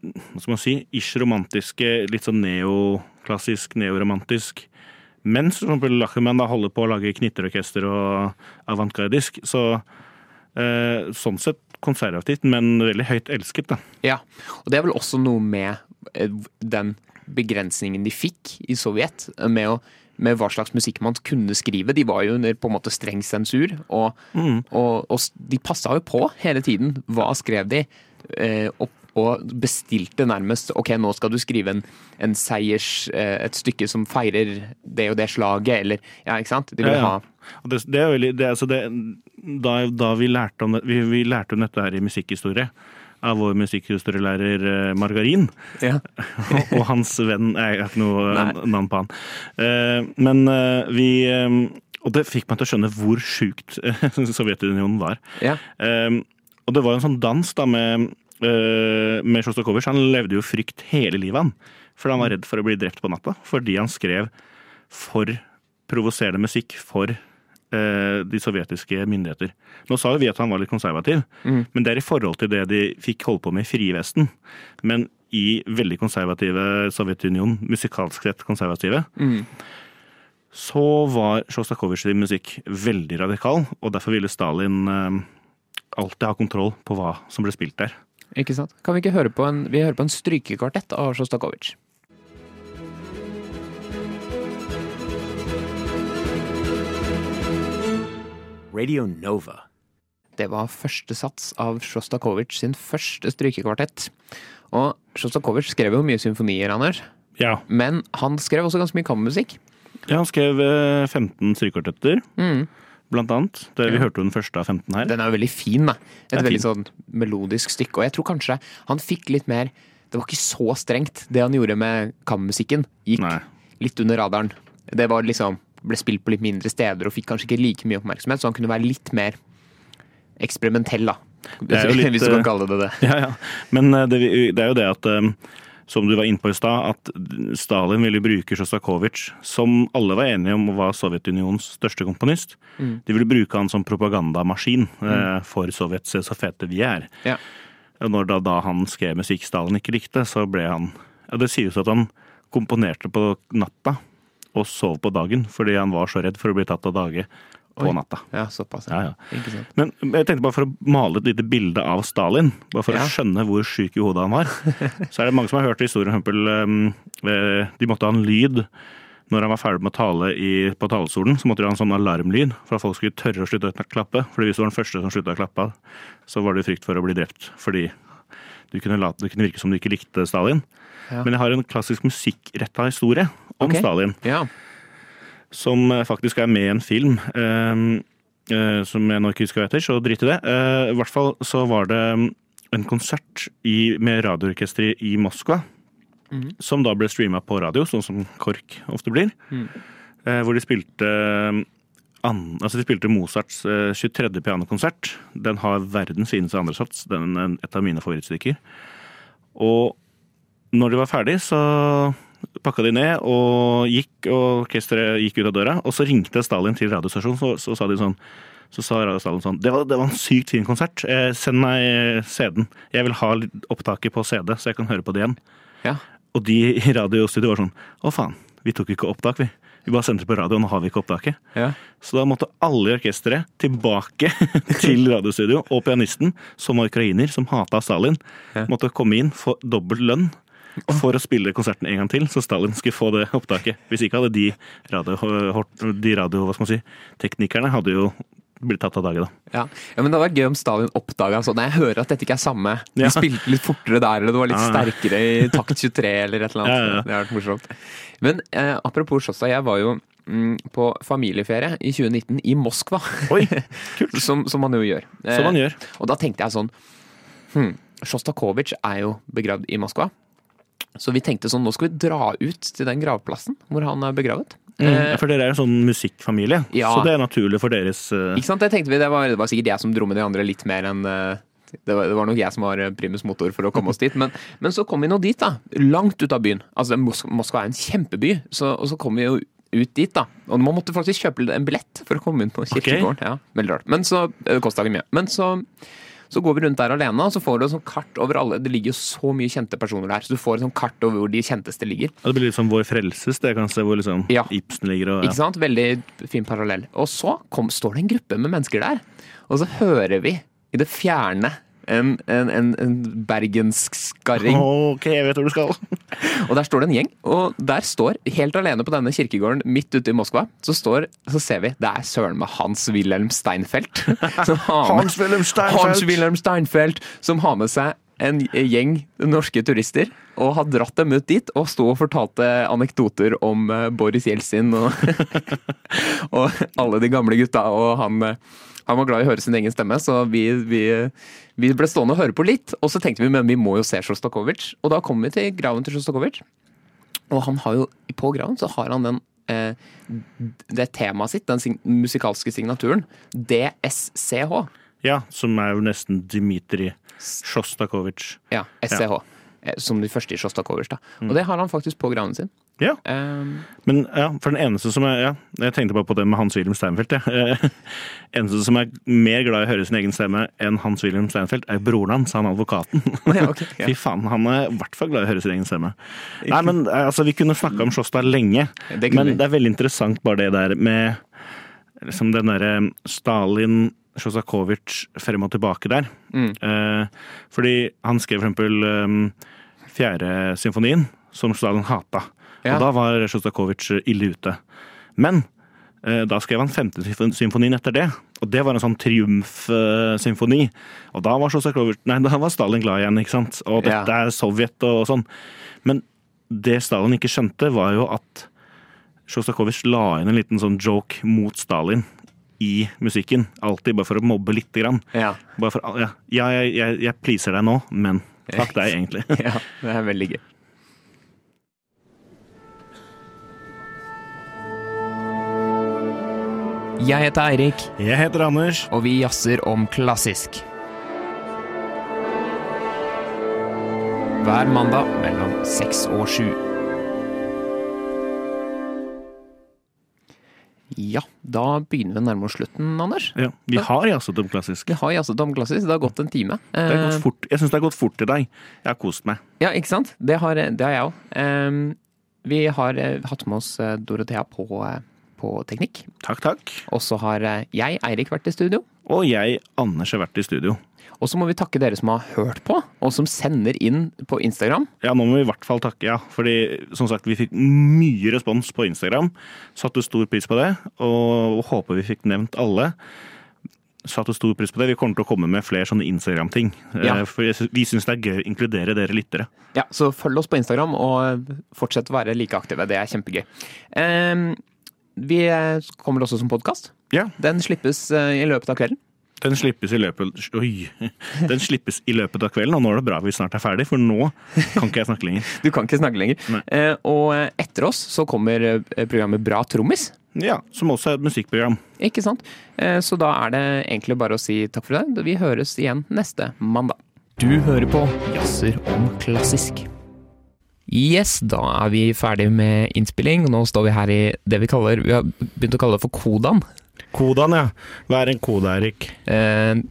S2: hva skal man si, ish romantiske, litt sånn neoklassisk, neoromantisk. Mens for eksempel Lachemann da holder på å lage knitterorkester og avantgardisk. Så eh, sånn sett konservativt, men veldig høyt elsket, da.
S1: Ja, og det er vel også noe med eh, den begrensningen de fikk i Sovjet, eh, med, å, med hva slags musikk man kunne skrive. De var jo under på en måte streng sensur, og,
S2: Mm.
S1: og, og s- de passa jo på hele tiden. Hva skrev de? Eh, og, og bestilte nærmest Ok, nå skal du skrive en, en seiers... Eh, et stykke som feirer det og det slaget, eller Ja, ikke sant? De ville
S2: Ja, ja.
S1: ha
S2: Og Det, det er veldig, det, er- altså det, da, da vi lærte om det, vi, vi lærte om dette her i musikkhistorie av vår musikkhistorielærer eh, Margarin.
S1: Ja.
S2: <laughs> og og hans venn nei, Jeg har ikke noe
S1: Nei.
S2: eh, navn på han. Eh, Men eh, vi eh, Og det fikk meg til å skjønne hvor sjukt eh, <laughs> Sovjetunionen var.
S1: Ja.
S2: Eh, Og det var jo en sånn dans da med, eh, med Sjostakovitsj. Han levde jo i frykt hele livet, han. For han var redd for å bli drept på natta. Fordi han skrev for provoserende musikk for eh, de sovjetiske myndigheter. Nå sa jo vi at han var litt konservativ, men det er i forhold til det de fikk holde på med i Frivesten. Men i veldig konservative Sovjetunionen, musikalsk sett konservative, så var Sjostakovitsj sin musikk veldig radikal, og derfor ville Stalin eh, alltid ha kontroll på hva som ble spilt der.
S1: Ikke sant? Kan vi ikke høre på en, vi hører på en strykekvartett av Sjostakovitsj?
S3: Radio Nova.
S1: Det var første sats av Sjostakovitsj sin første strykekvartett. Og Sjostakovitsj skrev jo mye symfonier, Anders,
S2: Ja,
S1: men han skrev også ganske mye kammermusikk.
S2: Han skrev eh, 15 strykekvartetter,
S1: Mm.
S2: blant annet. Det, vi
S1: Ja.
S2: hørte jo den første av 15 her.
S1: Den er jo veldig fin, da. Et
S2: Den er
S1: veldig sånn melodisk stykke. Og jeg tror kanskje han fikk litt mer Det var ikke så strengt, det han gjorde med kammermusikken. Gikk
S2: Nei.
S1: litt under radaren. Det var liksom Ble spilt på litt mindre steder og fikk kanskje ikke like mye oppmerksomhet, så han kunne være litt mer eksperimentell, da.
S2: er jo litt,
S1: <laughs> Hvis du
S2: eh,
S1: kan kalle det det.
S2: Ja, ja. Men eh, det, vi- det er jo det at eh, som du var inne på i stad, at Stalin ville bruke Sjostakovitsj, som alle var enige om var Sovjetunionens største komponist. De ville bruke han som propagandamaskin eh, for Sovjet, se så fete vi er.
S1: Ja.
S2: Og Når da, da han skrev musikk Stalin ikke likte, så ble han ja, Det sies at han komponerte på natta og sov på dagen fordi han var så redd for å bli tatt av dage på
S1: Oi.
S2: natta.
S1: Ja, såpass.
S2: Ja, ja.
S1: Ikke sant.
S2: Men jeg tenkte bare for å male et lite bilde av Stalin, bare for
S1: Ja.
S2: å skjønne hvor syk i hodet han
S1: <laughs>
S2: var, så er det mange som har hørt historien, for eksempel ehm, eh, De måtte ha en lyd når han var ferdig med å tale i, på talestolen, så måtte de ha en sånn alarmlyd for at folk skulle tørre å slutte å klappe. For hvis du var den første som slutta å klappe, så var det frykt for å bli drept. Fordi du kunne, late, det kunne virke som du ikke likte Stalin.
S1: Ja.
S2: Men jeg har en klassisk musikkretta historie om
S1: Ok.
S2: Stalin
S1: Ja.
S2: som eh, faktisk er med i en film. eh, eh, som jeg nå ikke husker hva heter, så drit i det. Eh, I hvert fall så var det mm, en konsert i, med radioorkesteret i Moskva. Som da ble streama på radio, sånn som KORK ofte blir. eh, hvor de spilte mm, an, altså de spilte Mozarts eh, 23. pianokonsert. Den har verdens fineste andresats. Den er et av mine favorittstykker. Og når de var ferdig, så pakka de ned og gikk, og orkesteret gikk ut av døra. Og så ringte Stalin til radiostasjonen, så, så sa de sånn så sa Radio Stalin sånn det var, det var en sykt fin konsert. Eh, send meg eh, CD-en. Jeg vil ha litt opptaket på CD, så jeg kan høre på det igjen.
S1: ja.
S2: Og de i radiostudioet var sånn Å, faen. Vi tok ikke opptak, vi. Vi bare sendte det på radio, og nå har vi ikke opptaket.
S1: ja.
S2: Så da måtte alle i orkesteret tilbake <laughs> til radiostudio, og pianisten, som var ukrainer, som hata Stalin,
S1: Ja.
S2: måtte komme inn, få dobbelt lønn for å spille konserten en gang til, så Stalin skulle få det opptaket. Hvis ikke hadde de radio, de radio hva skal man si, teknikerne hadde jo blitt tatt av dage, da.
S1: Ja. ja, men Det hadde vært gøy om Stalin oppdaga sånn Nei, jeg hører at dette ikke er samme. De
S2: Ja.
S1: spilte litt fortere der, eller det var litt
S2: Ja, ja.
S1: sterkere i takt 23, eller et eller annet.
S2: Ja, ja, ja.
S1: Det hadde vært morsomt. Men eh, apropos Sjåstad, jeg var jo mm, på familieferie i 2019 i Moskva.
S2: <laughs> Oi, kult.
S1: <laughs> som, som man jo gjør.
S2: Som man gjør.
S1: Og da tenkte jeg sånn hmm, Sjostakovitsj er jo begravd i Moskva. Så vi tenkte sånn, nå skal vi dra ut til den gravplassen hvor han er begravet. Eh,
S2: Ja, Mm, For dere er jo en sånn musikkfamilie,
S1: Ja.
S2: så det er naturlig for deres eh,
S1: Ikke sant, det tenkte vi. Det var, det var sikkert jeg som dro med de andre litt mer enn eh, det var, det var nok jeg som var eh, primus motor for å komme oss dit. Men, men så kom vi nå dit, da. Langt ut av byen. Altså, Mos Moskva er en kjempeby. Så, og så kom vi jo ut dit, da. Og man måtte faktisk kjøpe en billett for å komme inn på kirkegården. Ja, veldig rart. Men så eh, Det kosta ikke mye. Men så så går vi rundt der alene, og så får du et sånt kart over alle. Det ligger jo så mye kjente personer der, så du får et sånt kart over hvor de kjenteste ligger.
S2: ja, Det blir litt som Vår Frelses, det kan se hvor liksom
S1: Ja.
S2: Ibsen ligger og
S1: Ikke sant? Veldig fin parallell. Og så kom, står det en gruppe med mennesker der, og så hører vi i det fjerne en, en, en, en bergensk skarring.
S2: Ok, jeg vet hvor du skal.
S1: Og der står det en gjeng, og der står, helt alene på denne kirkegården midt ute i Moskva, så, står, så ser vi, det er søren meg Hans-Wilhelm Steinfeld. <laughs> som har med-
S2: Hans-Wilhelm Steinfeld.
S1: Hans-Wilhelm Steinfeld, som har med seg en gjeng norske turister, og har dratt dem ut dit, og sto og fortalte anekdoter om eh, Boris Jeltsin og, <laughs> og alle de gamle gutta, og han... eh, Han var glad i å høre sin egen stemme, så vi, vi, vi ble stående og høre på litt. Og så tenkte vi, men vi må jo se Sjostakovitsj. Og da kom vi til graven til Sjostakovitsj. Og han har jo, på graven så har han den eh, det temaet sitt, den sign musikalske signaturen, DSCH.
S2: Ja, som er jo nesten Dmitrij Sjostakovitsj.
S1: Ja, Mm. SCH. Eh, Som de første i Sjostakovitsj. da. Og det har han faktisk på graven sin.
S2: Ja,
S1: Um,
S2: men ja, for den eneste som er ja, Jeg tenkte bare på det med Hans-Wilhelm Steinfeld. Ja. <laughs> Eh, eneste som er mer glad i å høre sin egen stemme enn Hans-Wilhelm Steinfeld, er broren hans, han
S1: <laughs>
S2: advokaten.
S1: ja, ok, ja.
S2: Fy faen, han er i hvert fall glad i å høre sin egen stemme. Nei, men eh, altså, Vi kunne snakka om Sjåstad lenge,
S1: Ja, det kunne
S2: men
S1: vi.
S2: det er veldig interessant bare det der med liksom den derre Stalin Sjostakovitsj frem og tilbake der. Eh, fordi han skrev for eksempel eh, fjerde symfonien, som Stalin hata.
S1: Ja.
S2: Og da var Sjostakovitsj ille ute. Men eh, da skrev han femte symfon- symfonien etter det, og det var en sånn triumfsymfoni. Og da var Sjostakovitsj Nei, da var Stalin glad igjen, ikke sant? Og dette
S1: Ja.
S2: er Sovjet og sånn. Men det Stalin ikke skjønte, var jo at Sjostakovitsj la inn en liten sånn joke mot Stalin i musikken. Alltid bare for å mobbe lite grann.
S1: ja. <laughs>
S2: Bare for, ja, ja jeg, jeg, jeg pleaser deg nå, men fuck deg, egentlig.
S1: ja, det er veldig gøy. Jeg heter Eirik,
S2: <laughs> Jeg heter Anders.
S1: og vi jazzer om klassisk. hver mandag mellom seks og sju. Ja, da begynner vi å nærme oss slutten, Anders.
S2: Ja, vi har jazzet om klassisk.
S1: Vi har jazzet om klassisk, det har gått en time.
S2: Det har
S1: Eh,
S2: gått fort. Jeg syns det har gått fort i dag. Jeg har kost meg.
S1: Ja, ikke sant? Det har, det har jeg òg. vi har eh, hatt med oss eh, Dorothea på, eh, på teknikk.
S2: Takk, takk.
S1: Og så har eh, jeg, Eirik, vært i studio.
S2: Og jeg, Anders, har vært i studio.
S1: Og så må vi takke dere som har hørt på, og som sender inn på Instagram.
S2: Ja, nå må vi i hvert fall takke, ja. Fordi som sagt, vi fikk mye respons på Instagram. Satte stor pris på det, og håper vi fikk nevnt alle. Satte stor pris på det. Vi kommer til å komme med flere sånne Instagram-ting.
S1: Ja.
S2: Eh, For jeg sy- vi syns det er gøy å inkludere dere lyttere.
S1: Ja, Så følg oss på Instagram, og eh, fortsett å være like aktive. Det er kjempegøy. Eh, vi eh, kommer også som podkast.
S2: Ja,
S1: Den slippes eh, i løpet av kvelden.
S2: den slippes i løpet Oi! <laughs> Den slippes i løpet av kvelden, og nå er det bra vi snart er ferdig, for nå kan ikke jeg snakke lenger.
S1: Du kan ikke snakke lenger.
S2: Nei.
S1: Eh, og eh, etter oss så kommer eh, programmet Bra trommis.
S2: <laughs> Ja, Som også er et musikkprogram.
S1: Ikke sant? Eh, Så da er det egentlig bare å si takk for i dag. Vi høres igjen neste mandag. Du hører på Jazzer om klassisk. Yes, da er vi ferdig med innspilling. Nå står vi her i det vi kaller Vi har begynt å kalle det for kodaen.
S2: Kodaen, ja. Hva er en kode, Erik?
S1: Eh,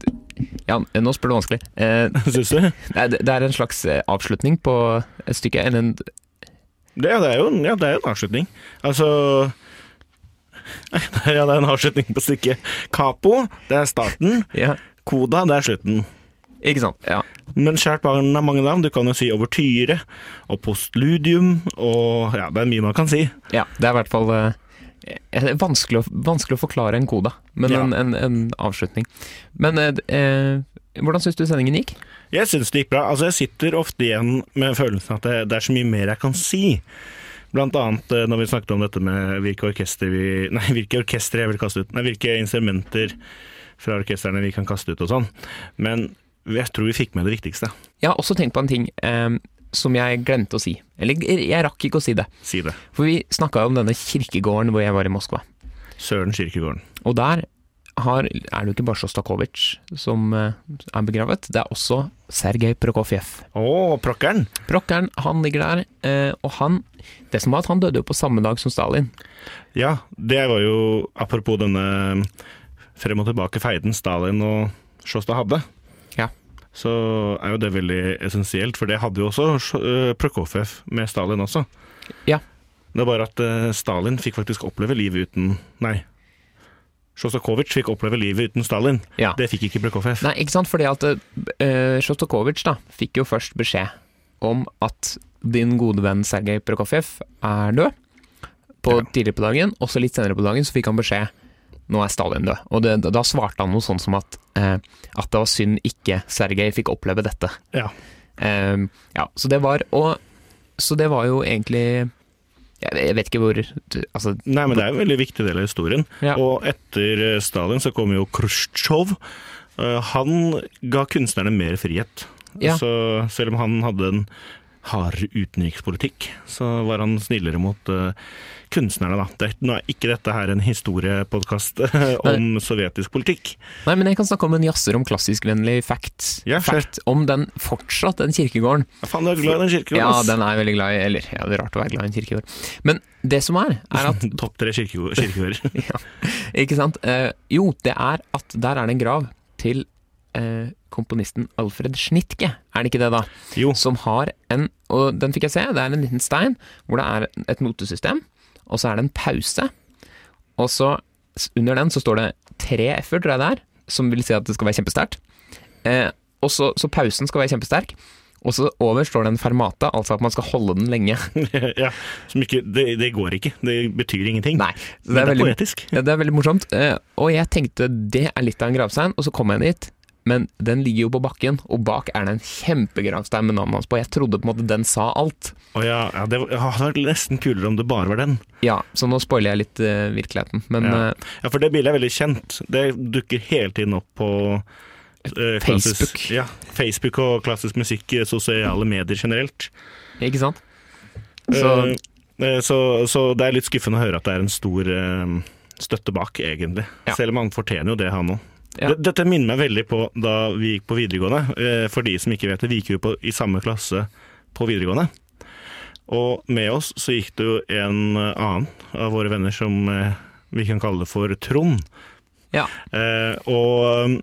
S1: ja, nå spør du vanskelig. Eh,
S2: Syns du?
S1: nei, det det er en slags eh, avslutning på et stykke. Eller en,
S2: Det, det, er jo, ja, det er jo en avslutning. Altså <laughs> Ja, det er en avslutning på stykket. Capo, det er starten.
S1: ja,
S2: Koda, det er slutten.
S1: ikke sant? Ja.
S2: Men kjært barn har mange navn. Du kan jo si overtyre og postludium og Ja, det er mye man kan si.
S1: Ja, det er i hvert fall eh, eh, vanskelig, å, vanskelig å forklare en koda, men
S2: Ja.
S1: en, en, en avslutning. Men eh, d- eh, hvordan syns du sendingen gikk?
S2: Jeg syns det gikk bra. Altså, jeg sitter ofte igjen med følelsen at det, det er så mye mer jeg kan si. Blant annet eh, når vi snakket om dette med hvilke orkester vi <laughs> Nei, hvilke orkestre jeg vil kaste ut. Nei, hvilke instrumenter fra orkestrene vi kan kaste ut og sånn. Men jeg tror vi fikk med det viktigste.
S1: Jeg har også tenkt på en ting eh, som jeg glemte å si. Eller jeg jeg rakk ikke å si det.
S2: Si det.
S1: For vi snakka om denne kirkegården hvor jeg var i Moskva.
S2: Søren Kirkegården.
S1: Og der har, er det jo ikke bare Sjostakovitsj som eh, er begravet, det er også Sergej Prokofjev.
S2: Å, prokkeren!
S1: Rockeren, han ligger der, eh, og han Det som var at han døde jo på samme dag som Stalin.
S2: Ja, det var jo apropos denne frem og tilbake feiden Stalin og Sjåstad hadde.
S1: Ja.
S2: Så er jo det veldig essensielt, for det hadde jo også Sj- øh, Prokofjev med Stalin også.
S1: Ja.
S2: Det er bare at eh, Stalin fikk faktisk oppleve livet uten Nei. Sjostakovitsj fikk oppleve livet uten Stalin.
S1: Ja.
S2: Det fikk ikke Prokofjev.
S1: Nei, ikke sant? Fordi at uh, Sjostakovitsj da, fikk jo først beskjed om at din gode venn Sergej Prokofjev er død på
S2: Ja.
S1: tidligere på dagen, og så litt senere på dagen så fikk han beskjed nå er Stalin død. Og det, da svarte han noe sånn som at, eh, at det var synd ikke Sergej fikk oppleve dette.
S2: Ja.
S1: Eh, ja, så det var og, Så det var jo egentlig Jeg, jeg vet ikke hvor Altså,
S2: Nei, men det er en veldig viktig del av historien.
S1: Ja.
S2: Og etter eh, Stalin så kom jo Khrusjtsjov. Eh, Han ga kunstnerne mer frihet.
S1: Ja.
S2: Så selv om han hadde en hardere utenrikspolitikk, så var han snillere mot eh, kunstnerne, da. Det, nå er ikke dette her en <laughs> historiepodkast om sovjetisk politikk.
S1: Nei, men jeg kan snakke om en jazzer om klassiskvennlig fact.
S2: Ja, sure.
S1: fact om den fortsatt, den kirkegården.
S2: Ja, Faen, du er glad i den kirkegården,
S1: Ja,
S2: ass.
S1: den er jeg veldig glad i. Eller, ja, det er rart å være glad i en kirkegård. Men det som er, er
S2: <laughs>
S1: at
S2: Topp tre kirkegård- kirkegårder.
S1: Ikke sant? Eh, jo, det er at der er det en grav til eh, komponisten Alfred Schnittke, er det ikke det, da?
S2: Jo. <laughs>
S1: Som har en Og den fikk jeg se. Det er en liten stein hvor det er et notesystem, og så er det en pause. Og så s- under den så står det tre f-er, tror jeg det er, som vil si at det skal være kjempesterkt. Eh, og så, så pausen skal være kjempesterk. Og så over står det en fermata, altså at man skal holde den
S2: <laughs>
S1: lenge.
S2: ja, som ikke, det, det går ikke. Det betyr ingenting.
S1: Nei, så
S2: Men det er
S1: veldig-
S2: poetisk.
S1: Ja, det er veldig morsomt. Eh, Og jeg tenkte det er litt av en gravstein, og så kom jeg dit. Men den ligger jo på bakken, og bak er det en kjempegravstein med navnet hans på. Jeg trodde på en måte den sa alt.
S2: Å ja, ja, det, var- ja, det hadde vært nesten kulere om det bare var den.
S1: Ja, så nå spoiler jeg litt eh, virkeligheten. Men
S2: Ja.
S1: eh,
S2: Ja, for det bildet er veldig kjent. Det dukker hele tiden opp på eh, klassisk-
S1: Facebook.
S2: ja, Facebook og klassisk musikk i sosiale medier generelt.
S1: eh, ikke sant? Så-
S2: Eh, eh, så, så det er litt skuffende å høre at det er en stor eh, støtte bak, egentlig.
S1: Ja.
S2: Selv om han fortjener jo det, han òg.
S1: Ja.
S2: Det- Dette minner meg veldig på da vi gikk på videregående. Eh, For de som ikke vet det, vi gikk jo på, i samme klasse på videregående. Og med oss så gikk det jo en eh, annen av våre venner som eh, vi kan kalle det for Trond.
S1: Ja.
S2: Eh, og um,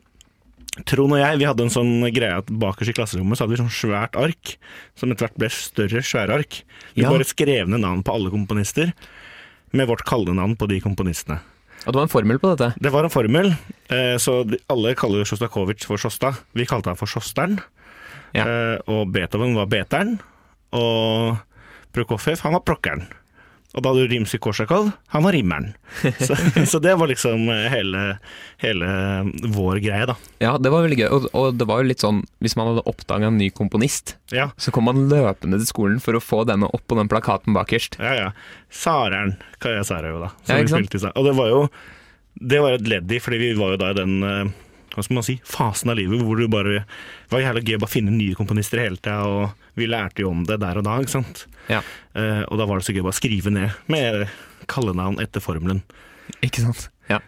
S2: Trond og jeg vi hadde en sånn greie at bakerst i klasserommet så hadde vi sånn svært ark, som etter hvert ble større svære ark. Vi
S1: Ja.
S2: bare skrev ned navn på alle komponister, med vårt kallenavn på de komponistene.
S1: Og det var en formel på dette.
S2: Det var en formel, eh, så de- alle kaller jo Sjostakovitsj for Sjosta. Vi kalte han for Sjosteren.
S1: Ja.
S2: Eh, og Beethoven var Beteren. Og Prokofjev, han var Prokkeren. Og da hadde du Rimsky Korsakov, han var Rimmeren. Så, så det var liksom eh, hele, hele eh, vår greie, da.
S1: Ja, det var veldig gøy. Og, og det var jo litt sånn, hvis man hadde oppdaga en ny komponist,
S2: Ja,
S1: så kom man løpende til skolen for å få denne opp på den plakaten bakerst.
S2: ja, ja. Sareren, Kaja Sarau, da.
S1: Ja,
S2: Som
S1: ikke
S2: vi
S1: sant?
S2: spilte i sa- Og det var jo Det var et ledd i, fordi vi var jo da i den eh, hva skal man si, fasen av livet hvor du bare det var jævla gøy å bare finne nye komponister hele tida, og vi lærte jo om det der og da, ikke sant.
S1: Ja,
S2: Eh, og da var det så gøy å bare skrive ned med kallenavn etter formelen.
S1: ikke sant? Ja.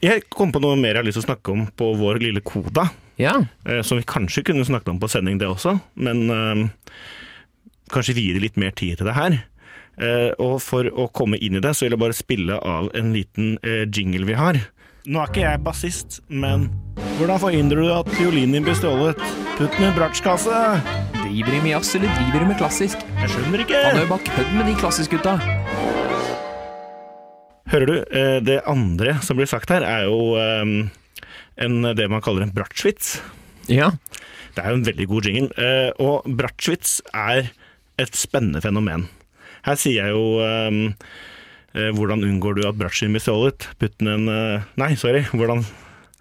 S2: Jeg kom på noe mer jeg har lyst til å snakke om på vår lille koda.
S1: ja.
S2: Eh, Som vi kanskje kunne snakket om på sending, det også. Men eh, kanskje vi gir det litt mer tid til det her. Eh, og for å komme inn i det, så vil jeg bare spille av en liten eh, jingle vi har. Nå er ikke jeg bassist, men Hvordan forhindrer du at fiolinen din blir stjålet? Putt den i en bratsjkasse!
S1: Driver de med jazz, eller driver de med klassisk?
S2: Jeg skjønner ikke!
S1: Han er jo bare kødd med de klassisk-gutta.
S2: Hører du, eh, det andre som blir sagt her, er jo eh, en, det man kaller en bratsjvits.
S1: Ja.
S2: Det er jo en veldig god jingle. eh, og Bratsjwitz er et spennende fenomen. Her sier jeg jo ehm, eh, Hvordan unngår du at bratsjen blir stjålet? Putt den i en eh, Nei, sorry. Hvordan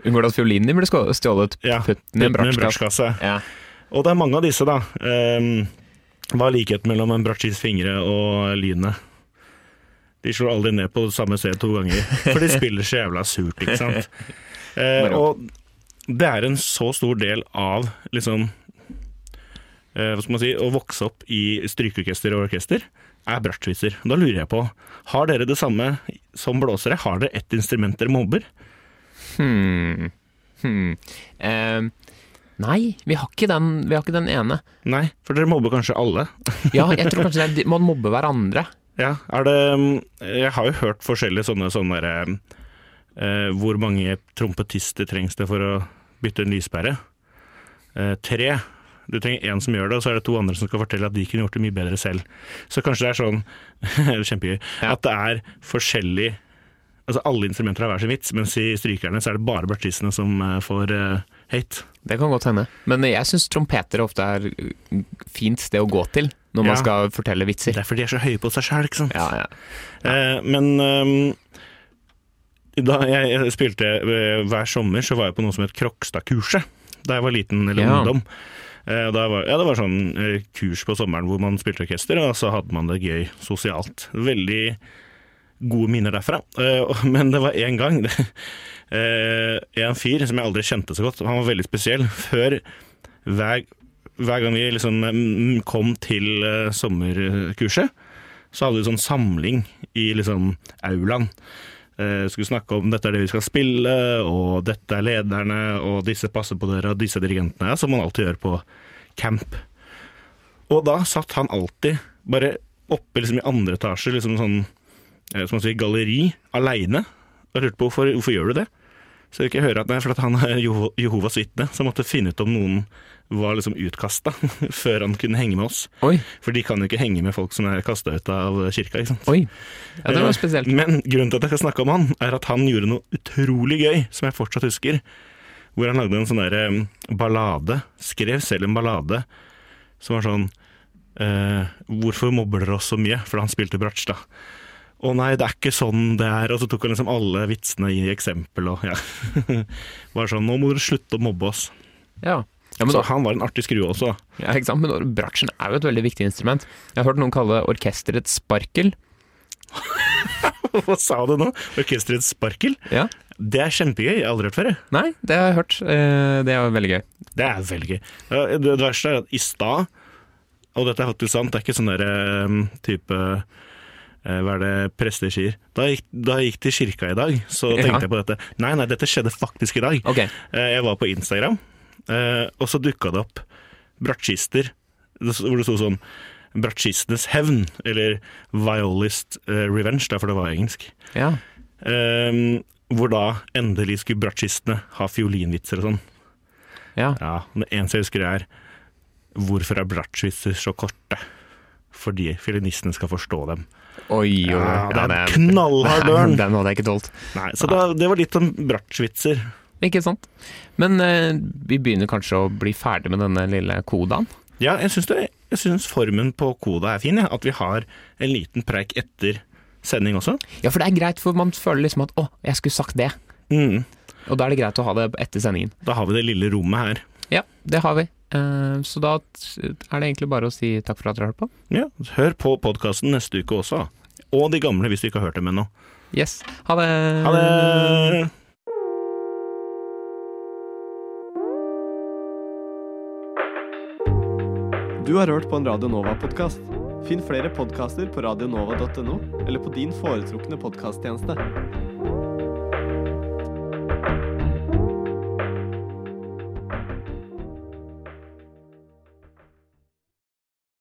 S1: Unngår du at fiolinen din ble skå- stjålet?
S2: ja,
S1: Putt den i en bratsjkasse.
S2: bratsjkasse.
S1: Ja.
S2: Og det er mange av disse, da. Ehm, hva er likheten mellom en bratsjis fingre og lynet? De slår aldri ned på samme sted to ganger, for de spiller så jævla surt, ikke sant. Eh, og det er en så stor del av liksom eh, Hva skal man si Å vokse opp i strykeorkester og orkester er bratsjviser. Da lurer jeg på, har dere det samme som blåsere? Har dere ett instrument dere mobber?
S1: Hmm. Hmm. Ehm, nei, vi har, ikke den, vi har ikke den ene.
S2: Nei, for dere mobber kanskje alle.
S1: Ja, jeg tror kanskje det er, man mobber hverandre.
S2: Ja, er det mm, Jeg har jo hørt forskjellige sånne, sånne der, eh, Hvor mange trompetister trengs det for å bytte en lyspære? Eh, tre. Du trenger én som gjør det, og så er det to andre som skal fortelle at de kunne gjort det mye bedre selv. Så kanskje det er sånn <laughs> Kjempegøy.
S1: Ja.
S2: At det er forskjellig Altså alle instrumenter har hver sin vits, mens i strykerne så er det bare bartistene som eh, får eh, hate.
S1: Det kan godt hende. Men jeg syns trompeter ofte er fint sted å gå til når man
S2: Ja.
S1: skal fortelle vitser.
S2: Det er fordi de er så høye på seg sjæl, ikke sant.
S1: Ja, ja.
S2: Eh, men ehm, da jeg spilte eh, hver sommer, så var jeg på noe som het Krokstadkurset. Da jeg var liten eller
S1: Ja.
S2: ungdom. Eh, da var, ja, det var sånn eh, kurs på sommeren hvor man spilte orkester, og så hadde man det gøy sosialt. Veldig gode minner derfra. Eh, og- <laughs> men det var én gang eh, En fyr som jeg aldri kjente så godt, han var veldig spesiell. Før hver, hver gang vi liksom mm, kom til eh, sommerkurset, så hadde vi sånn samling i liksom aulaen. Eh, skulle snakke om dette er det vi skal spille, og dette er lederne, og disse passer på dere, og disse dirigentene, ja, som man alltid gjør på camp. Og da satt han alltid bare oppe liksom i andre etasje, liksom sånn eh, som man sier, galleri, aleine, og lurte på hvorfor, hvorfor gjør du det? Så jeg ikke høre at det er fordi han er Jeho- Jehovas vitne, så han måtte finne ut om noen var liksom utkasta, <laughs> før han kunne henge med oss.
S1: Oi,
S2: For de kan jo ikke henge med folk som er kasta ut av kirka. ikke sant?
S1: oi. Ja, det var spesielt.
S2: Men grunnen til at jeg skal snakke om han, er at han gjorde noe utrolig gøy, som jeg fortsatt husker. Hvor han lagde en sånn derre ballade. Skrev selv en ballade som var sånn eh, Hvorfor mobber dere oss så mye? For han spilte bratsj, da. Å nei, det er ikke sånn det er. Og så tok han liksom alle vitsene i eksempel og ja. <laughs> Bare sånn Nå må dere slutte å mobbe oss.
S1: Ja. Ja, men
S2: Så
S1: da,
S2: han var en artig skrue også, <laughs> da.
S1: ja, ikke sant? Men bratsjen er jo et veldig viktig instrument. Jeg har hørt noen kalle orkesteret sparkel.
S2: Hva sa du nå? Orkesterets sparkel?
S1: Ja.
S2: Det er kjempegøy. Jeg har aldri hørt før. jeg.
S1: Nei, det har jeg hørt. Eh, Det er veldig gøy.
S2: Det er veldig gøy. Ja, Det det verste er at i stad, og dette er faktisk sant, det er ikke sånn der eh, type eh, hva er det prester sier? Da gikk, da gikk til kirka i dag, så
S1: Ja.
S2: tenkte jeg på dette. Nei, nei, dette skjedde faktisk i dag.
S1: Ok.
S2: Eh, Jeg var på Instagram, eh, og så dukka det opp bratsjister det s- hvor det sto sånn Bratsjistenes hevn, eller Violist eh, Revenge, derfor det var engelsk.
S1: Ja.
S2: Ehm, hvor da endelig skulle bratsjistene ha fiolinvitser og sånn.
S1: ja.
S2: Ja, men Det eneste jeg husker er Hvorfor er bratsjvitser så korte? Fordi fiolinistene skal forstå dem.
S1: Oi, oi, oi.
S2: Ja, det er
S1: Ja, <laughs>
S2: en knallhard
S1: den,
S2: ørn!
S1: den hadde jeg ikke tålt.
S2: Nei, Så da, det var litt om bratsjvitser.
S1: Ikke sant. Men eh, vi begynner kanskje å bli ferdig med denne lille kodaen.
S2: Ja, jeg syns, det, jeg syns formen på koda er fin. Ja. At vi har en liten preik etter sending også.
S1: Ja, for det er greit, for man føler liksom at å, jeg skulle sagt det.
S2: Mm.
S1: Og da er det greit å ha det etter sendingen.
S2: Da har vi det lille rommet her.
S1: Ja, det har vi. Eh, så da t- er det egentlig bare å si takk for at dere hørte på.
S2: Ja, Hør på podkasten neste uke også. Og de gamle, hvis du ikke har hørt dem ennå.
S1: Yes. Ha det.
S2: Ha det!
S5: Du har hørt på en Radio Nova-podkast. Finn flere podkaster på radionova.no eller på din foretrukne podkasttjeneste.